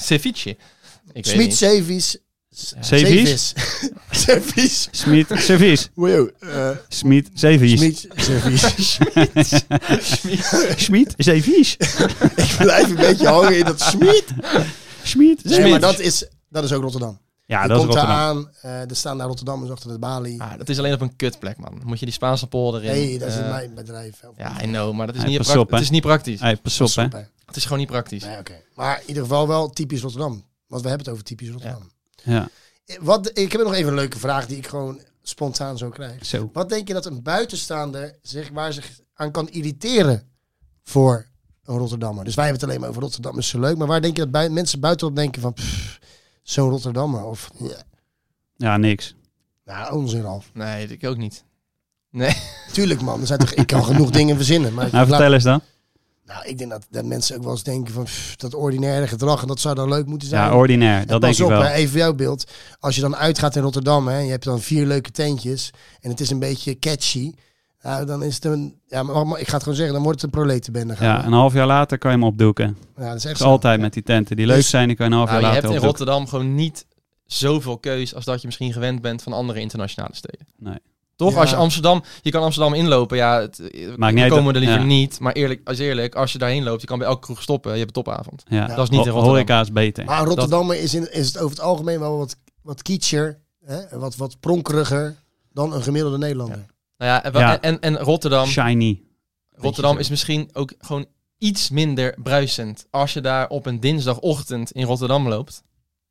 Speaker 2: Ceviche. Ik weet
Speaker 1: Schmied,
Speaker 2: niet.
Speaker 1: zeevies.
Speaker 3: Zeevies?
Speaker 1: Zeevis. Zeevies.
Speaker 3: Smit, servies.
Speaker 1: Wow. eh,
Speaker 3: Smit, zeevies.
Speaker 1: Schmied, zeevies.
Speaker 3: Schmied, zeevies.
Speaker 1: ik blijf een beetje hangen in dat Schmied.
Speaker 3: Schmied,
Speaker 1: Nee, maar
Speaker 2: Schmied.
Speaker 1: dat is, dat is ook Rotterdam.
Speaker 3: Ja,
Speaker 1: je
Speaker 3: dat is nou-
Speaker 1: komt daar
Speaker 3: Rotterdam.
Speaker 1: aan, eh, er staan daar Rotterdammers achter de balie.
Speaker 2: Ah, dat is alleen op een kutplek, man. Moet je die Spaanse polder in.
Speaker 1: Nee, dat is
Speaker 2: eh,
Speaker 1: in mijn bedrijf.
Speaker 2: Ja, I know, maar dat is,
Speaker 3: Hey,
Speaker 2: niet,
Speaker 3: pas
Speaker 2: prak-
Speaker 3: op, hè.
Speaker 2: het is niet praktisch.
Speaker 3: Hey, pas op, hè.
Speaker 1: Soep, hè?
Speaker 2: Het is gewoon niet praktisch.
Speaker 1: Nee, oké. Maar in ieder geval wel typisch Rotterdam. Want we hebben het over typisch Rotterdam.
Speaker 3: Ja.
Speaker 1: Eh, Wat, ik heb nog even een leuke vraag die ik gewoon spontaan zo krijg.
Speaker 3: Zo.
Speaker 1: Wat denk je dat een buitenstaander zich, waar zich aan kan irriteren voor een Rotterdammer? Dus wij hebben het alleen maar over Rotterdam is zo leuk. Maar waar denk je dat bui- mensen buitenop denken van pff, zo'n Rotterdammer? Of ja,
Speaker 3: Ja, niks.
Speaker 1: nou, onzin al.
Speaker 2: Nee, ik ook niet. Nee.
Speaker 1: Tuurlijk man, er zijn toch, ik kan genoeg dingen verzinnen. Maar ik,
Speaker 3: Nou,
Speaker 1: laat-
Speaker 3: vertel eens dan.
Speaker 1: nou, ik denk dat, dat mensen ook wel eens denken van pff, dat ordinaire gedrag en dat zou dan leuk moeten zijn.
Speaker 3: Ja, ordinair.
Speaker 1: En
Speaker 3: Dat denk
Speaker 1: pas
Speaker 3: ik
Speaker 1: op,
Speaker 3: wel.
Speaker 1: hè, even voor jouw beeld. Als je dan uitgaat in Rotterdam hè, en je hebt dan vier leuke tentjes en het is een beetje catchy. nou, dan is het een. Ja, maar, maar ik ga het gewoon zeggen, dan wordt het een proletenbende. gaan
Speaker 3: Ja, een half jaar later kan je hem opdoeken.
Speaker 1: we. ja, dat is echt
Speaker 3: Dat is
Speaker 1: zo.
Speaker 3: altijd met die tenten. Die leuk
Speaker 1: Dus-
Speaker 3: zijn, die kan je een half jaar
Speaker 2: Nou, je
Speaker 3: later
Speaker 2: hebt in
Speaker 3: opdoeken.
Speaker 2: Rotterdam gewoon niet zoveel keus als dat je misschien gewend bent van andere internationale steden.
Speaker 3: Nee.
Speaker 2: Toch?
Speaker 1: Ja.
Speaker 2: Als je Amsterdam, je kan Amsterdam inlopen, ja, het, we
Speaker 3: Maakt niet uit,
Speaker 2: komen er liever
Speaker 3: ja.
Speaker 2: niet. Maar eerlijk, als eerlijk, als je daarheen loopt, je kan bij elke kroeg stoppen, je hebt een topavond.
Speaker 3: Ja,
Speaker 1: Dat
Speaker 2: is niet in
Speaker 3: Ho-
Speaker 2: Rotterdam.
Speaker 3: Horeca is beter.
Speaker 1: Maar Rotterdammer is, in, is het over het algemeen wel wat, wat kietscher, hè, en wat, wat pronkeriger dan een gemiddelde Nederlander.
Speaker 2: Nou ja, en, wel-
Speaker 3: Ja.
Speaker 2: en, en Rotterdam,
Speaker 3: Shiny.
Speaker 2: Rotterdam
Speaker 3: zo.
Speaker 2: is misschien ook gewoon iets minder bruisend. Als je daar op een dinsdagochtend in Rotterdam loopt,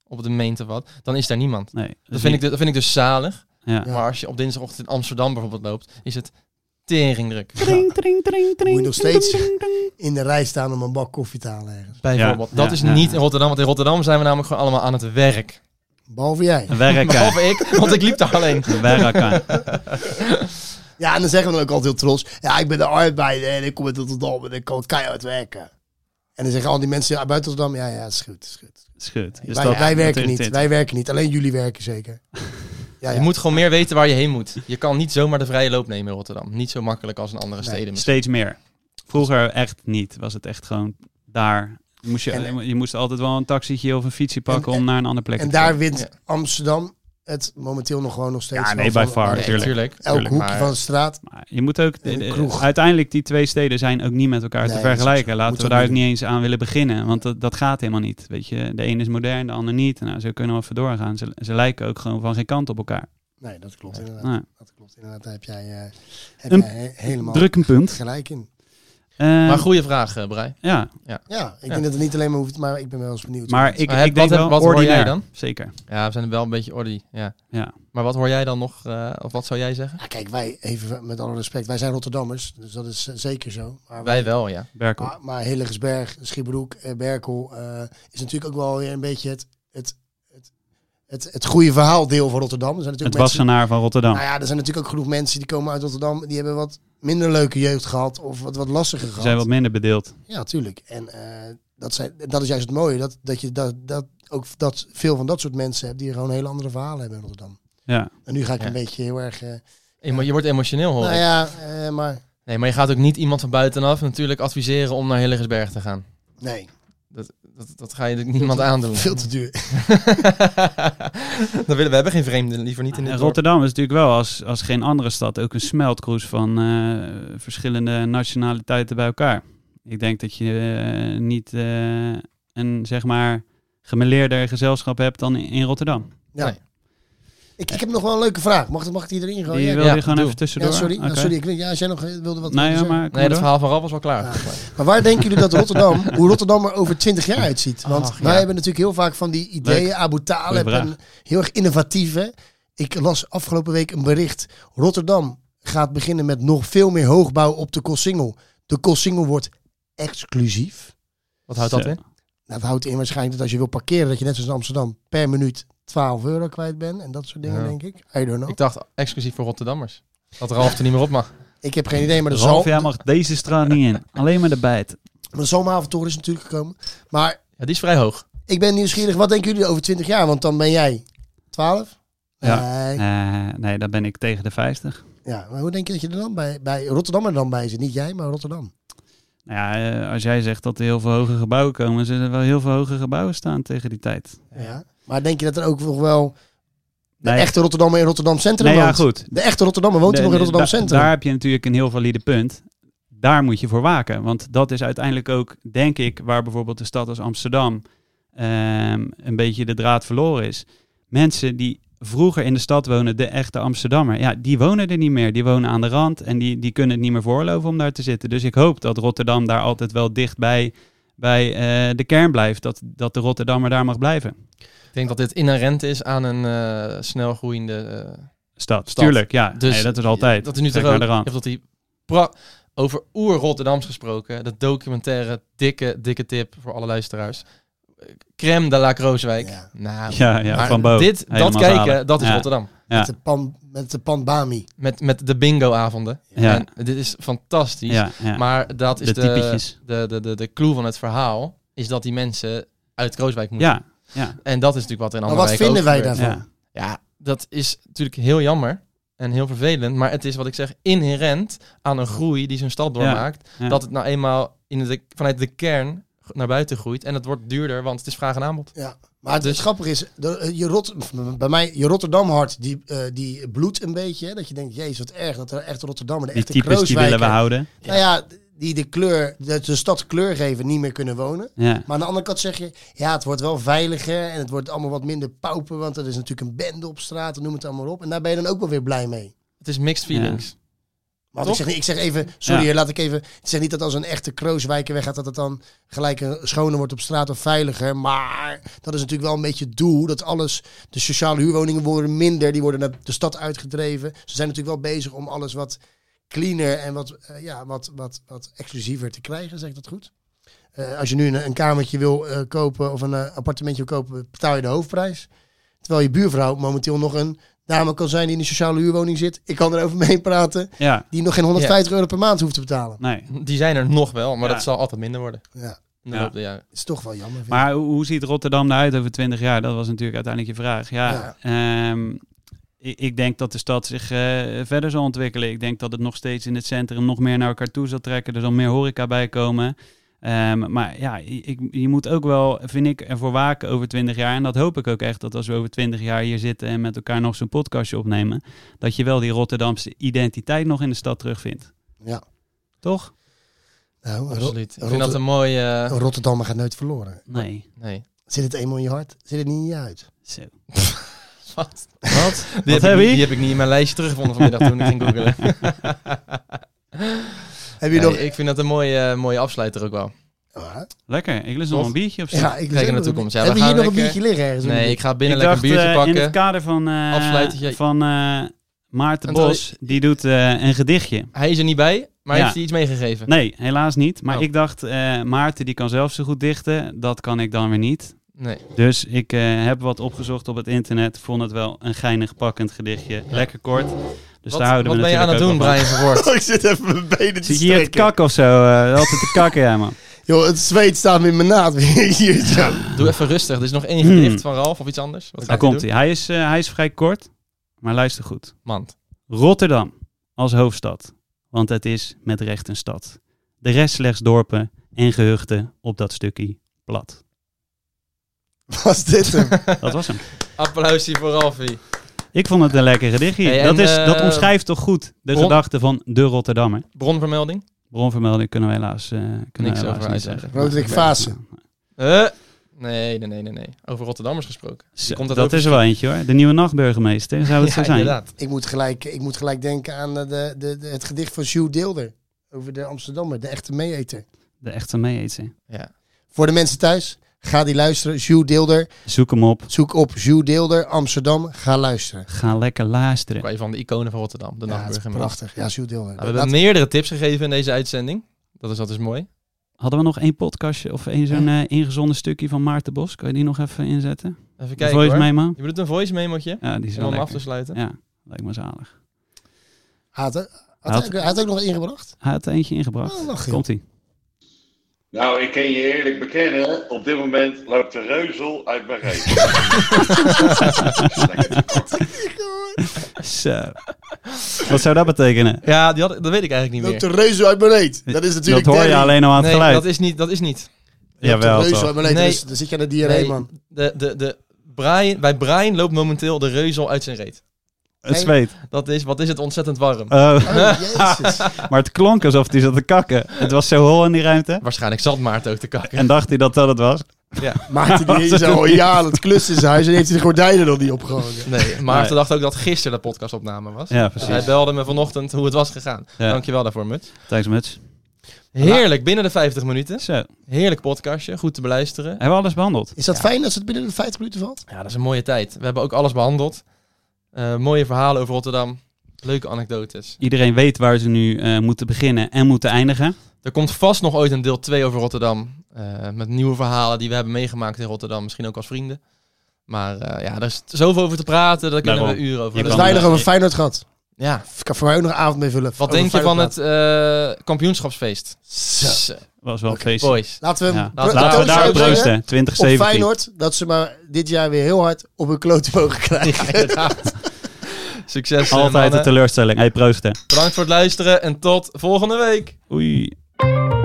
Speaker 2: op de meent of wat, dan is daar niemand.
Speaker 3: Nee.
Speaker 2: Dat vind, ik, dus- dat vind ik dus zalig.
Speaker 3: Ja.
Speaker 1: Ja.
Speaker 2: Maar als je op dinsdagochtend in Amsterdam bijvoorbeeld loopt, is het teringdruk.
Speaker 1: Moet je nog steeds in de rij staan om een bak koffie te halen ergens.
Speaker 2: Bijvoorbeeld.
Speaker 3: Ja,
Speaker 2: dat
Speaker 3: ja,
Speaker 2: is
Speaker 3: ja.
Speaker 2: niet in Rotterdam, want in Rotterdam zijn we namelijk gewoon allemaal aan het werk.
Speaker 1: Behalve jij.
Speaker 3: Werken.
Speaker 2: Behalve ik, want ik liep daar alleen.
Speaker 3: Werken.
Speaker 1: Ja, en dan zeggen we dan ook altijd heel trots. Ja, ik ben de arbeider en ik kom uit Rotterdam en ik kan keihard werken. En dan zeggen al die mensen uit buiten Rotterdam, ja, ja, is goed, is goed.
Speaker 3: Is goed. Dus
Speaker 1: wij
Speaker 3: dat-
Speaker 1: wij werken
Speaker 3: dat-
Speaker 1: niet,
Speaker 3: dit-
Speaker 1: wij werken niet. Alleen jullie werken zeker. Ja,
Speaker 2: Je
Speaker 1: ja.
Speaker 2: moet gewoon meer weten waar je heen moet. Je kan niet zomaar de vrije loop nemen in Rotterdam. Niet zo makkelijk als in andere
Speaker 1: Nee.
Speaker 2: steden. misschien.
Speaker 3: Steeds meer. Vroeger echt niet. Was het echt gewoon daar. Moest je,
Speaker 1: En-
Speaker 3: je moest altijd wel een taxietje of een fietsje pakken
Speaker 1: En-
Speaker 3: om naar een andere plek
Speaker 1: En
Speaker 3: te gaan.
Speaker 1: daar wint
Speaker 2: Ja.
Speaker 1: Amsterdam het momenteel nog gewoon nog steeds.
Speaker 3: Ja,
Speaker 1: wel
Speaker 3: nee,
Speaker 1: van-
Speaker 3: by far,
Speaker 1: van
Speaker 3: tuurlijk.
Speaker 1: Elk
Speaker 3: tuurlijk,
Speaker 1: hoekje
Speaker 2: maar-
Speaker 1: van de straat.
Speaker 3: Maar je moet ook.
Speaker 1: En een
Speaker 3: eh,
Speaker 1: kroeg.
Speaker 3: Uiteindelijk, die twee steden zijn ook niet met elkaar
Speaker 1: Nee,
Speaker 3: te
Speaker 1: dat is
Speaker 3: vergelijken. Laten
Speaker 1: Moet
Speaker 3: we
Speaker 1: ook
Speaker 3: daar
Speaker 1: niet
Speaker 3: ook niet eens aan willen beginnen. Want dat, dat gaat helemaal niet. Weet je, de een is modern, de ander niet. Nou, zo kunnen we even doorgaan. Ze, ze lijken ook gewoon van geen kant op elkaar.
Speaker 1: Nee, dat klopt inderdaad.
Speaker 3: Nou,
Speaker 1: Dat klopt inderdaad. Daar heb jij, eh, heb
Speaker 3: Een
Speaker 1: jij he- helemaal
Speaker 3: druk een punt.
Speaker 1: gelijk in.
Speaker 3: Eh,
Speaker 2: Maar goede vraag, eh, Brei.
Speaker 3: ja,
Speaker 1: Ja, ik
Speaker 2: Ja.
Speaker 1: denk dat het niet alleen maar hoeft, maar ik ben wel eens benieuwd.
Speaker 3: maar ik,
Speaker 2: Maar heb-
Speaker 3: ik denk
Speaker 2: wat heb-
Speaker 3: wel
Speaker 2: wat hoor jij
Speaker 3: ordinair.
Speaker 2: dan?
Speaker 3: Zeker.
Speaker 2: Ja, we zijn wel een beetje ordy. Ja.
Speaker 3: Ja.
Speaker 2: Maar wat hoor jij dan nog? eh, of wat zou jij zeggen?
Speaker 1: Ja, Nou, kijk, wij, even met alle respect, wij zijn Rotterdammers, dus dat is eh, zeker zo. Maar
Speaker 2: Wij wel, ja.
Speaker 3: Berkel.
Speaker 1: Maar, maar Hilligensberg, Schiebroek, eh, Berkel eh, is natuurlijk ook wel weer een beetje het, het, het, het, het goede verhaaldeel van Rotterdam. Er zijn
Speaker 3: het
Speaker 1: natuurlijk mensen,
Speaker 3: wassenaar van Rotterdam.
Speaker 1: nou ja, er zijn natuurlijk ook genoeg mensen die komen uit Rotterdam, die hebben wat minder leuke jeugd gehad of wat, wat lastiger
Speaker 3: Ze
Speaker 1: gehad.
Speaker 3: zijn wat minder bedeeld.
Speaker 1: Ja, tuurlijk. En eh, dat, zijn, dat is juist het mooie, dat, dat je dat, dat ook dat veel van dat soort mensen hebt die gewoon hele andere verhalen hebben in Rotterdam.
Speaker 3: Ja.
Speaker 1: En nu ga ik
Speaker 2: Ja.
Speaker 1: een beetje heel erg. eh,
Speaker 2: Emo- je wordt emotioneel hoor.
Speaker 1: nou
Speaker 2: ik.
Speaker 1: ja, eh, maar
Speaker 2: Nee, maar je gaat ook niet iemand van buitenaf natuurlijk adviseren om naar Hilligersberg te gaan.
Speaker 1: nee,
Speaker 2: Dat, dat ga je natuurlijk niemand aandoen.
Speaker 1: veel te duur.
Speaker 2: Dan willen we hebben geen vreemden, liever niet in dit
Speaker 3: En
Speaker 2: dorp.
Speaker 3: Rotterdam is natuurlijk wel als, als geen andere stad ook een smeltkroes van eh, verschillende nationaliteiten bij elkaar. Ik denk dat je eh, niet eh, een zeg maar gemeleerder gezelschap hebt dan in, in Rotterdam.
Speaker 1: Ja.
Speaker 2: Nee.
Speaker 1: Ik, ik heb nog wel een leuke vraag. Mag, mag ik die erin gooien?
Speaker 3: Die
Speaker 1: Oh, Ja,
Speaker 3: wil
Speaker 2: ja,
Speaker 3: je gewoon
Speaker 2: doe.
Speaker 3: even tussendoor.
Speaker 1: ja, sorry.
Speaker 3: Oké.
Speaker 1: Ja, sorry ik, weet- ja, als jij nog eh, wilde wat
Speaker 3: Nee, ja,
Speaker 1: zeggen.
Speaker 3: maar...
Speaker 2: Nee, dat verhaal van Rab was wel klaar.
Speaker 1: Maar waar denken jullie dat Rotterdam, hoe Rotterdam er over 20 jaar uitziet? Want
Speaker 2: Ach, ja.
Speaker 1: wij hebben natuurlijk heel vaak van die ideeën.
Speaker 3: Leuk.
Speaker 1: Abu Talib,
Speaker 3: Goeie
Speaker 1: en heel erg innovatieve. Ik las afgelopen week een bericht. Rotterdam gaat beginnen met nog veel meer hoogbouw op de Koolsingel. De Koolsingel wordt exclusief.
Speaker 2: Wat houdt dat
Speaker 3: Zo.
Speaker 2: in?
Speaker 1: Nou, dat houdt in waarschijnlijk dat als je wil parkeren, dat je net zoals in Amsterdam per minuut 12 euro kwijt bent. En dat soort dingen,
Speaker 2: Ja.
Speaker 1: denk ik. I don't know.
Speaker 2: Ik
Speaker 1: Ik,
Speaker 2: dacht exclusief voor Rotterdammers. Dat Ralf er niet meer op mag.
Speaker 1: heb geen idee, maar er zal,
Speaker 3: Ralf, jij mag deze straat niet in. Alleen maar de bijt.
Speaker 1: maar de zomeravondtoren is natuurlijk gekomen. Maar
Speaker 2: Ja, die is vrij hoog.
Speaker 1: Ik ben nieuwsgierig, wat denken jullie over 20 jaar? Want dan ben jij 12?
Speaker 3: Ja.
Speaker 1: Nee.
Speaker 3: Eh, nee, daar ben ik tegen de 50.
Speaker 1: ja. Maar hoe denk je dat je er dan bij, bij Rotterdam er dan bij zit? Niet jij, maar Rotterdam.
Speaker 3: Nou ja, eh, als jij zegt dat er heel veel hoge gebouwen komen, zullen er wel heel veel hoge gebouwen staan tegen die tijd.
Speaker 1: Ja. Maar denk je dat er ook nog wel de
Speaker 3: Nee.
Speaker 1: echte Rotterdammer in Rotterdam Centrum
Speaker 3: Nee, ja,
Speaker 1: woont?
Speaker 3: goed.
Speaker 1: De echte Rotterdammer woont
Speaker 3: De-
Speaker 1: er nog in
Speaker 3: de-
Speaker 1: Rotterdam
Speaker 3: da-
Speaker 1: Centrum.
Speaker 3: Daar heb je natuurlijk een heel valide punt. Daar moet je voor waken. Want dat is uiteindelijk ook, denk ik, waar bijvoorbeeld de stad als Amsterdam ehm, een beetje de draad verloren is. Mensen die vroeger in de stad wonen, de echte Amsterdammer, ja, die wonen er niet meer. Die wonen aan de rand en die, die kunnen het niet meer voorloven om daar te zitten. Dus ik hoop dat Rotterdam daar altijd wel dicht bij, bij eh, de kern blijft. Dat, dat de Rotterdammer daar mag blijven.
Speaker 2: Ik denk dat dit inherent is aan een eh, snel groeiende eh,
Speaker 3: Stad,
Speaker 2: Stad.
Speaker 3: tuurlijk. Ja,
Speaker 2: Dus
Speaker 3: Nee, dat is altijd.
Speaker 2: Dat is nu
Speaker 3: Kijk
Speaker 2: toch
Speaker 3: naar
Speaker 2: ook.
Speaker 3: de
Speaker 2: Je
Speaker 3: rand.
Speaker 2: hebt dat die pra- over oer-Rotterdams gesproken. Dat documentaire, dikke, dikke tip voor alle luisteraars. Crème de la Krooswijk.
Speaker 1: Ja.
Speaker 2: Nou,
Speaker 3: Ja, ja,
Speaker 2: maar
Speaker 3: van boven.
Speaker 2: dit, dat
Speaker 3: Helemaal
Speaker 2: kijken,
Speaker 3: zalig.
Speaker 2: dat is
Speaker 3: Ja.
Speaker 2: Rotterdam.
Speaker 3: Ja.
Speaker 1: Met, de pan, met de pandbami.
Speaker 2: Met, met de bingo-avonden.
Speaker 3: Ja.
Speaker 2: En dit is fantastisch.
Speaker 3: Ja, ja.
Speaker 2: Maar dat is
Speaker 3: De
Speaker 2: de,
Speaker 3: typetjes.
Speaker 2: de, de, de, de clue van het verhaal. Is dat die mensen uit Krooswijk moeten.
Speaker 3: ja, ja.
Speaker 2: En dat is natuurlijk wat er
Speaker 1: Maar
Speaker 2: in andere
Speaker 1: wat
Speaker 2: wijken ook
Speaker 1: vinden wij
Speaker 2: gebeurt.
Speaker 1: daarvan?
Speaker 3: Ja.
Speaker 2: Ja, dat is natuurlijk heel jammer en heel vervelend. Maar het is wat ik zeg inherent aan een groei die zo'n stad doormaakt.
Speaker 3: ja.
Speaker 2: Dat het nou eenmaal in de, vanuit de kern g- naar buiten groeit. En het wordt duurder, want het is vraag en aanbod.
Speaker 1: Ja. Maar het,
Speaker 2: Dus-
Speaker 1: het grappige is, de- eh, je Rot, bij mij, je Rotterdam hart, die, eh, die bloedt een beetje. Hè? Dat je denkt, jezus, wat erg dat er echt Rotterdammer, de
Speaker 3: Die
Speaker 1: echte
Speaker 3: types die willen we
Speaker 1: Krooswijker,
Speaker 3: houden.
Speaker 1: Nou ja, die de kleur, de, de stad kleur geven, niet meer kunnen wonen.
Speaker 3: Ja.
Speaker 1: Maar aan de andere kant zeg je, ja, het wordt wel veiliger en het wordt allemaal wat minder pauper, want er is natuurlijk een bende op straat en noem het allemaal op. En daar ben je dan ook wel weer blij mee.
Speaker 2: Het is mixed feelings.
Speaker 1: Want ik
Speaker 2: Toch?
Speaker 1: zeg, niet- ik zeg even, sorry,
Speaker 3: Ja.
Speaker 1: laat ik even, ik zeg niet dat als een echte krooswijker weggaat, dat het dan gelijk een schoner wordt op straat of veiliger. Maar dat is natuurlijk wel een beetje het doel, dat alles, de sociale huurwoningen worden minder, die worden naar de stad uitgedreven. Ze zijn natuurlijk wel bezig om alles wat cleaner en wat, eh, ja, wat, wat, wat exclusiever te krijgen, zeg ik dat goed? Eh, als je nu een, een kamertje wil eh, kopen of een eh, appartementje wil kopen, betaal je de hoofdprijs. Terwijl je buurvrouw momenteel nog een dame kan zijn die in een sociale huurwoning zit. Ik kan erover mee praten.
Speaker 3: ja,
Speaker 1: Die nog geen 150 euro per maand hoeft te betalen.
Speaker 3: nee.
Speaker 2: Die zijn er nog wel, maar
Speaker 3: Ja.
Speaker 2: dat zal altijd minder worden.
Speaker 1: Ja,
Speaker 2: In de
Speaker 3: Ja.
Speaker 2: loop der jaren.
Speaker 1: is toch wel jammer. vind ik.
Speaker 3: Maar hoe, hoe ziet Rotterdam eruit over 20 jaar? Dat was natuurlijk uiteindelijk je vraag. Ja, ehm, ik, ik denk dat de stad zich eh, verder zal ontwikkelen. Ik denk dat het nog steeds in het centrum nog meer naar elkaar toe zal trekken. Er zal meer horeca bij komen. Ehm, maar ja, ik, je moet ook wel, vind ik, ervoor waken over 20 jaar. En dat hoop ik ook echt, dat als we over 20 jaar hier zitten en met elkaar nog zo'n podcastje opnemen, dat je wel die Rotterdamse identiteit nog in de stad terugvindt.
Speaker 1: Ja.
Speaker 3: Toch?
Speaker 1: Nou, Ro-
Speaker 2: Absoluut. Ik vind
Speaker 1: Rotter-
Speaker 2: dat een mooie... eh,
Speaker 1: een Rotterdammer gaat nooit verloren.
Speaker 3: Nee.
Speaker 2: nee.
Speaker 1: Zit het eenmaal in je hart? Zit het niet in je uit?
Speaker 3: Zo.
Speaker 2: Wat? Wat? Die, heb
Speaker 3: heb
Speaker 2: ik, niet-
Speaker 3: ik?
Speaker 2: die heb ik niet in mijn lijstje teruggevonden vanmiddag toen ik ging googelen.
Speaker 1: Heb je
Speaker 2: Nee,
Speaker 1: nog...
Speaker 2: ik vind dat een mooie, eh, mooie afsluiter ook wel.
Speaker 1: Ah,
Speaker 3: Lekker, ik lust
Speaker 2: Toch?
Speaker 3: nog een biertje of zo.
Speaker 1: ja, ik
Speaker 2: Kijk naar de
Speaker 1: nog-
Speaker 2: toekomst. Ja, we
Speaker 1: Hebben we
Speaker 2: gaan
Speaker 1: hier nog een
Speaker 2: lekker-
Speaker 1: biertje liggen ergens?
Speaker 2: Nee, ik ga binnen
Speaker 3: ik
Speaker 2: lekker
Speaker 3: dacht,
Speaker 2: een biertje
Speaker 3: eh, in het
Speaker 2: pakken.
Speaker 3: kader van, eh,
Speaker 2: Afsluitertje.
Speaker 3: van eh, Maarten
Speaker 2: En terwijl
Speaker 3: Bos, die doet eh, een gedichtje.
Speaker 2: Hij is er niet bij, maar
Speaker 3: Ja.
Speaker 2: heeft hij iets meegegeven?
Speaker 3: Nee, helaas niet. Maar
Speaker 2: Oh.
Speaker 3: ik dacht, eh, Maarten die kan zelf zo goed dichten. Dat kan ik dan weer niet.
Speaker 2: Nee.
Speaker 3: Dus ik eh, heb wat opgezocht op het internet. Vond het wel een geinig pakkend gedichtje. Lekker kort. Dus
Speaker 2: wat
Speaker 3: daar houden
Speaker 2: wat
Speaker 3: we
Speaker 2: ben je aan het
Speaker 3: natuurlijk
Speaker 2: doen,
Speaker 3: ook wel van.
Speaker 2: Brian Verwoord?
Speaker 1: ik zit even mijn benen
Speaker 3: Zit je hier het kak of zo? eh, altijd te kakken, ja man.
Speaker 1: Joh, het zweet staat me in mijn naad. Hier, ja.
Speaker 2: Doe even rustig. Er is nog één
Speaker 3: Hmm.
Speaker 2: gedicht van Ralf of iets anders. Wat
Speaker 3: Daar
Speaker 2: gaat hij
Speaker 3: komt hij. Hij is, eh, hij is vrij kort. Maar luister goed.
Speaker 2: doen? Mand.
Speaker 3: Rotterdam als hoofdstad, want het is met recht een stad. De rest slechts dorpen en gehuchten op dat stukje plat.
Speaker 1: Was dit hem?
Speaker 3: Dat was hem.
Speaker 2: Applausje voor Ralfie.
Speaker 3: Ik vond het een lekker gedichtje.
Speaker 2: Hey, en,
Speaker 3: dat, is, dat
Speaker 2: eh,
Speaker 3: omschrijft toch goed de
Speaker 2: Bron-
Speaker 3: gedachte van de Rotterdammer.
Speaker 2: Bronvermelding?
Speaker 3: Bronvermelding kunnen we helaas, eh, kunnen we
Speaker 2: Niks
Speaker 3: helaas
Speaker 2: over
Speaker 3: niet
Speaker 2: uitleggen.
Speaker 3: zeggen.
Speaker 1: Roderick Vaassen.
Speaker 2: Eh, Nee, nee, nee, nee, nee. Over Rotterdammers gesproken.
Speaker 3: Zo,
Speaker 2: komt dat
Speaker 3: dat
Speaker 2: ook
Speaker 3: is er wel eentje hoor. De nieuwe nachtburgemeester zou het zo zijn.
Speaker 2: inderdaad.
Speaker 1: Ik moet gelijk, ik moet gelijk denken aan eh, de, de, de- het gedicht van Jules Deelder. Over de Amsterdammer, de echte meeeter.
Speaker 3: De echte meeeten.
Speaker 2: Ja.
Speaker 1: Voor de mensen thuis, ga die luisteren. Jules Deelder.
Speaker 3: Zoek hem op.
Speaker 1: Zoek op Jules Deelder, Amsterdam. Ga luisteren.
Speaker 3: Ga lekker luisteren.
Speaker 2: Ook Een van de iconen van Rotterdam, de
Speaker 1: Ja, het is
Speaker 2: nachtburgemeester.
Speaker 1: prachtig. Ja, Jules Deelder.
Speaker 2: Nou, we hebben meerdere tips gegeven in deze uitzending. Dat is altijd mooi.
Speaker 3: Hadden we nog één podcastje of één zo'n eh, ingezonden stukje van Maarten Bos? Kan je die nog even inzetten?
Speaker 2: Even
Speaker 3: Kijk,
Speaker 2: kijken hoor.
Speaker 3: mij man.
Speaker 2: Je bedoelt een voice memootje?
Speaker 3: Ja, die is
Speaker 2: Om
Speaker 3: wel
Speaker 2: hem af te
Speaker 3: lekker.
Speaker 2: sluiten.
Speaker 3: Ja, lijkt me zalig.
Speaker 1: Hij had, had,
Speaker 3: Had-
Speaker 1: hij- hij had ook nog ingebracht.
Speaker 3: Hij had er eentje ingebracht.
Speaker 1: Oh, lach je.
Speaker 3: Komt-ie.
Speaker 7: Nou, ik kan je eerlijk bekennen, op dit moment loopt de reuzel uit mijn reet.
Speaker 3: Zo. Wat zou dat betekenen?
Speaker 2: Ja, die had, dat weet ik eigenlijk niet
Speaker 1: Loopt
Speaker 2: meer.
Speaker 1: de reuze uit mijn reet. Dat is
Speaker 3: Dat
Speaker 1: natuurlijk
Speaker 3: hoor je
Speaker 1: Danny.
Speaker 3: alleen al aan het
Speaker 2: Nee,
Speaker 3: geluid.
Speaker 2: dat is niet. Dat is niet.
Speaker 1: Loopt de
Speaker 3: Jawel,
Speaker 1: reuze
Speaker 3: toch.
Speaker 1: uit mijn reet.
Speaker 2: Nee.
Speaker 1: Dus, dan zit je aan de diarree,
Speaker 2: Nee,
Speaker 1: man.
Speaker 2: De, de, de Brian, bij Brian loopt momenteel de reuzel uit zijn reet.
Speaker 3: Het
Speaker 1: Nee.
Speaker 3: zweet.
Speaker 2: Dat is, wat is het ontzettend warm.
Speaker 3: Eh,
Speaker 1: Oh, jezus.
Speaker 3: maar het klonk alsof hij zat te kakken. Het was zo hol in die ruimte.
Speaker 2: Waarschijnlijk zat Maarten ook te kakken.
Speaker 3: En dacht hij dat dat het was.
Speaker 1: Maarten die
Speaker 3: Wat
Speaker 1: is
Speaker 3: een
Speaker 1: al
Speaker 3: idee.
Speaker 1: een jaar aan het klussen in zijn huis en heeft hij de gordijnen nog niet opgehangen.
Speaker 2: Nee, Maarten dacht ook dat gisteren de podcastopname was.
Speaker 3: Ja,
Speaker 2: Dus
Speaker 3: precies.
Speaker 2: hij belde me vanochtend hoe het was gegaan.
Speaker 3: Ja.
Speaker 2: Dankjewel daarvoor, Mut.
Speaker 3: Thanks, Muts.
Speaker 2: Heerlijk, binnen de 50 minuten.
Speaker 3: Zo. Hebben
Speaker 2: Heerlijk podcastje, goed te beluisteren.
Speaker 3: we alles behandeld?
Speaker 1: Is dat fijn als het binnen de 50 minuten valt?
Speaker 2: Ja, dat is een mooie tijd. We hebben ook alles behandeld. Eh, mooie verhalen over Rotterdam. Leuke anekdotes.
Speaker 3: Iedereen weet waar ze nu eh, moeten beginnen en moeten eindigen.
Speaker 2: Er komt vast nog ooit een deel 2 over Rotterdam. eh, met nieuwe verhalen die we hebben meegemaakt in Rotterdam. Misschien ook als vrienden. Maar eh, ja, er is zoveel over te praten. Daar kunnen
Speaker 3: Daarom.
Speaker 2: we uren over
Speaker 3: Je
Speaker 1: Dat is
Speaker 2: doen.
Speaker 3: kan-
Speaker 1: weinig over Feyenoord gehad.
Speaker 2: Ja.
Speaker 1: Ik kan voor mij ook nog een avond mee vullen.
Speaker 2: Wat
Speaker 1: Over
Speaker 2: denk je van
Speaker 1: Feyenoord
Speaker 2: het eh, kampioenschapsfeest?
Speaker 1: praten. Zo.
Speaker 2: Zo,
Speaker 3: Was wel
Speaker 1: Oké,
Speaker 3: feest.
Speaker 2: Boys.
Speaker 1: Laten we, hem
Speaker 3: Ja.
Speaker 2: Laten
Speaker 1: pro-
Speaker 3: Laten we
Speaker 2: Proost,
Speaker 3: daar
Speaker 1: zeggen
Speaker 3: op proosten.
Speaker 1: Op
Speaker 3: 2017.
Speaker 1: Feyenoord, dat ze maar dit jaar weer heel hard op hun kloten mogen krijgen.
Speaker 2: Inderdaad. Succes. eh,
Speaker 3: Altijd een
Speaker 2: mannen.
Speaker 3: teleurstelling. Hey, proosten.
Speaker 2: Bedankt voor het luisteren en tot volgende week.
Speaker 3: Oei.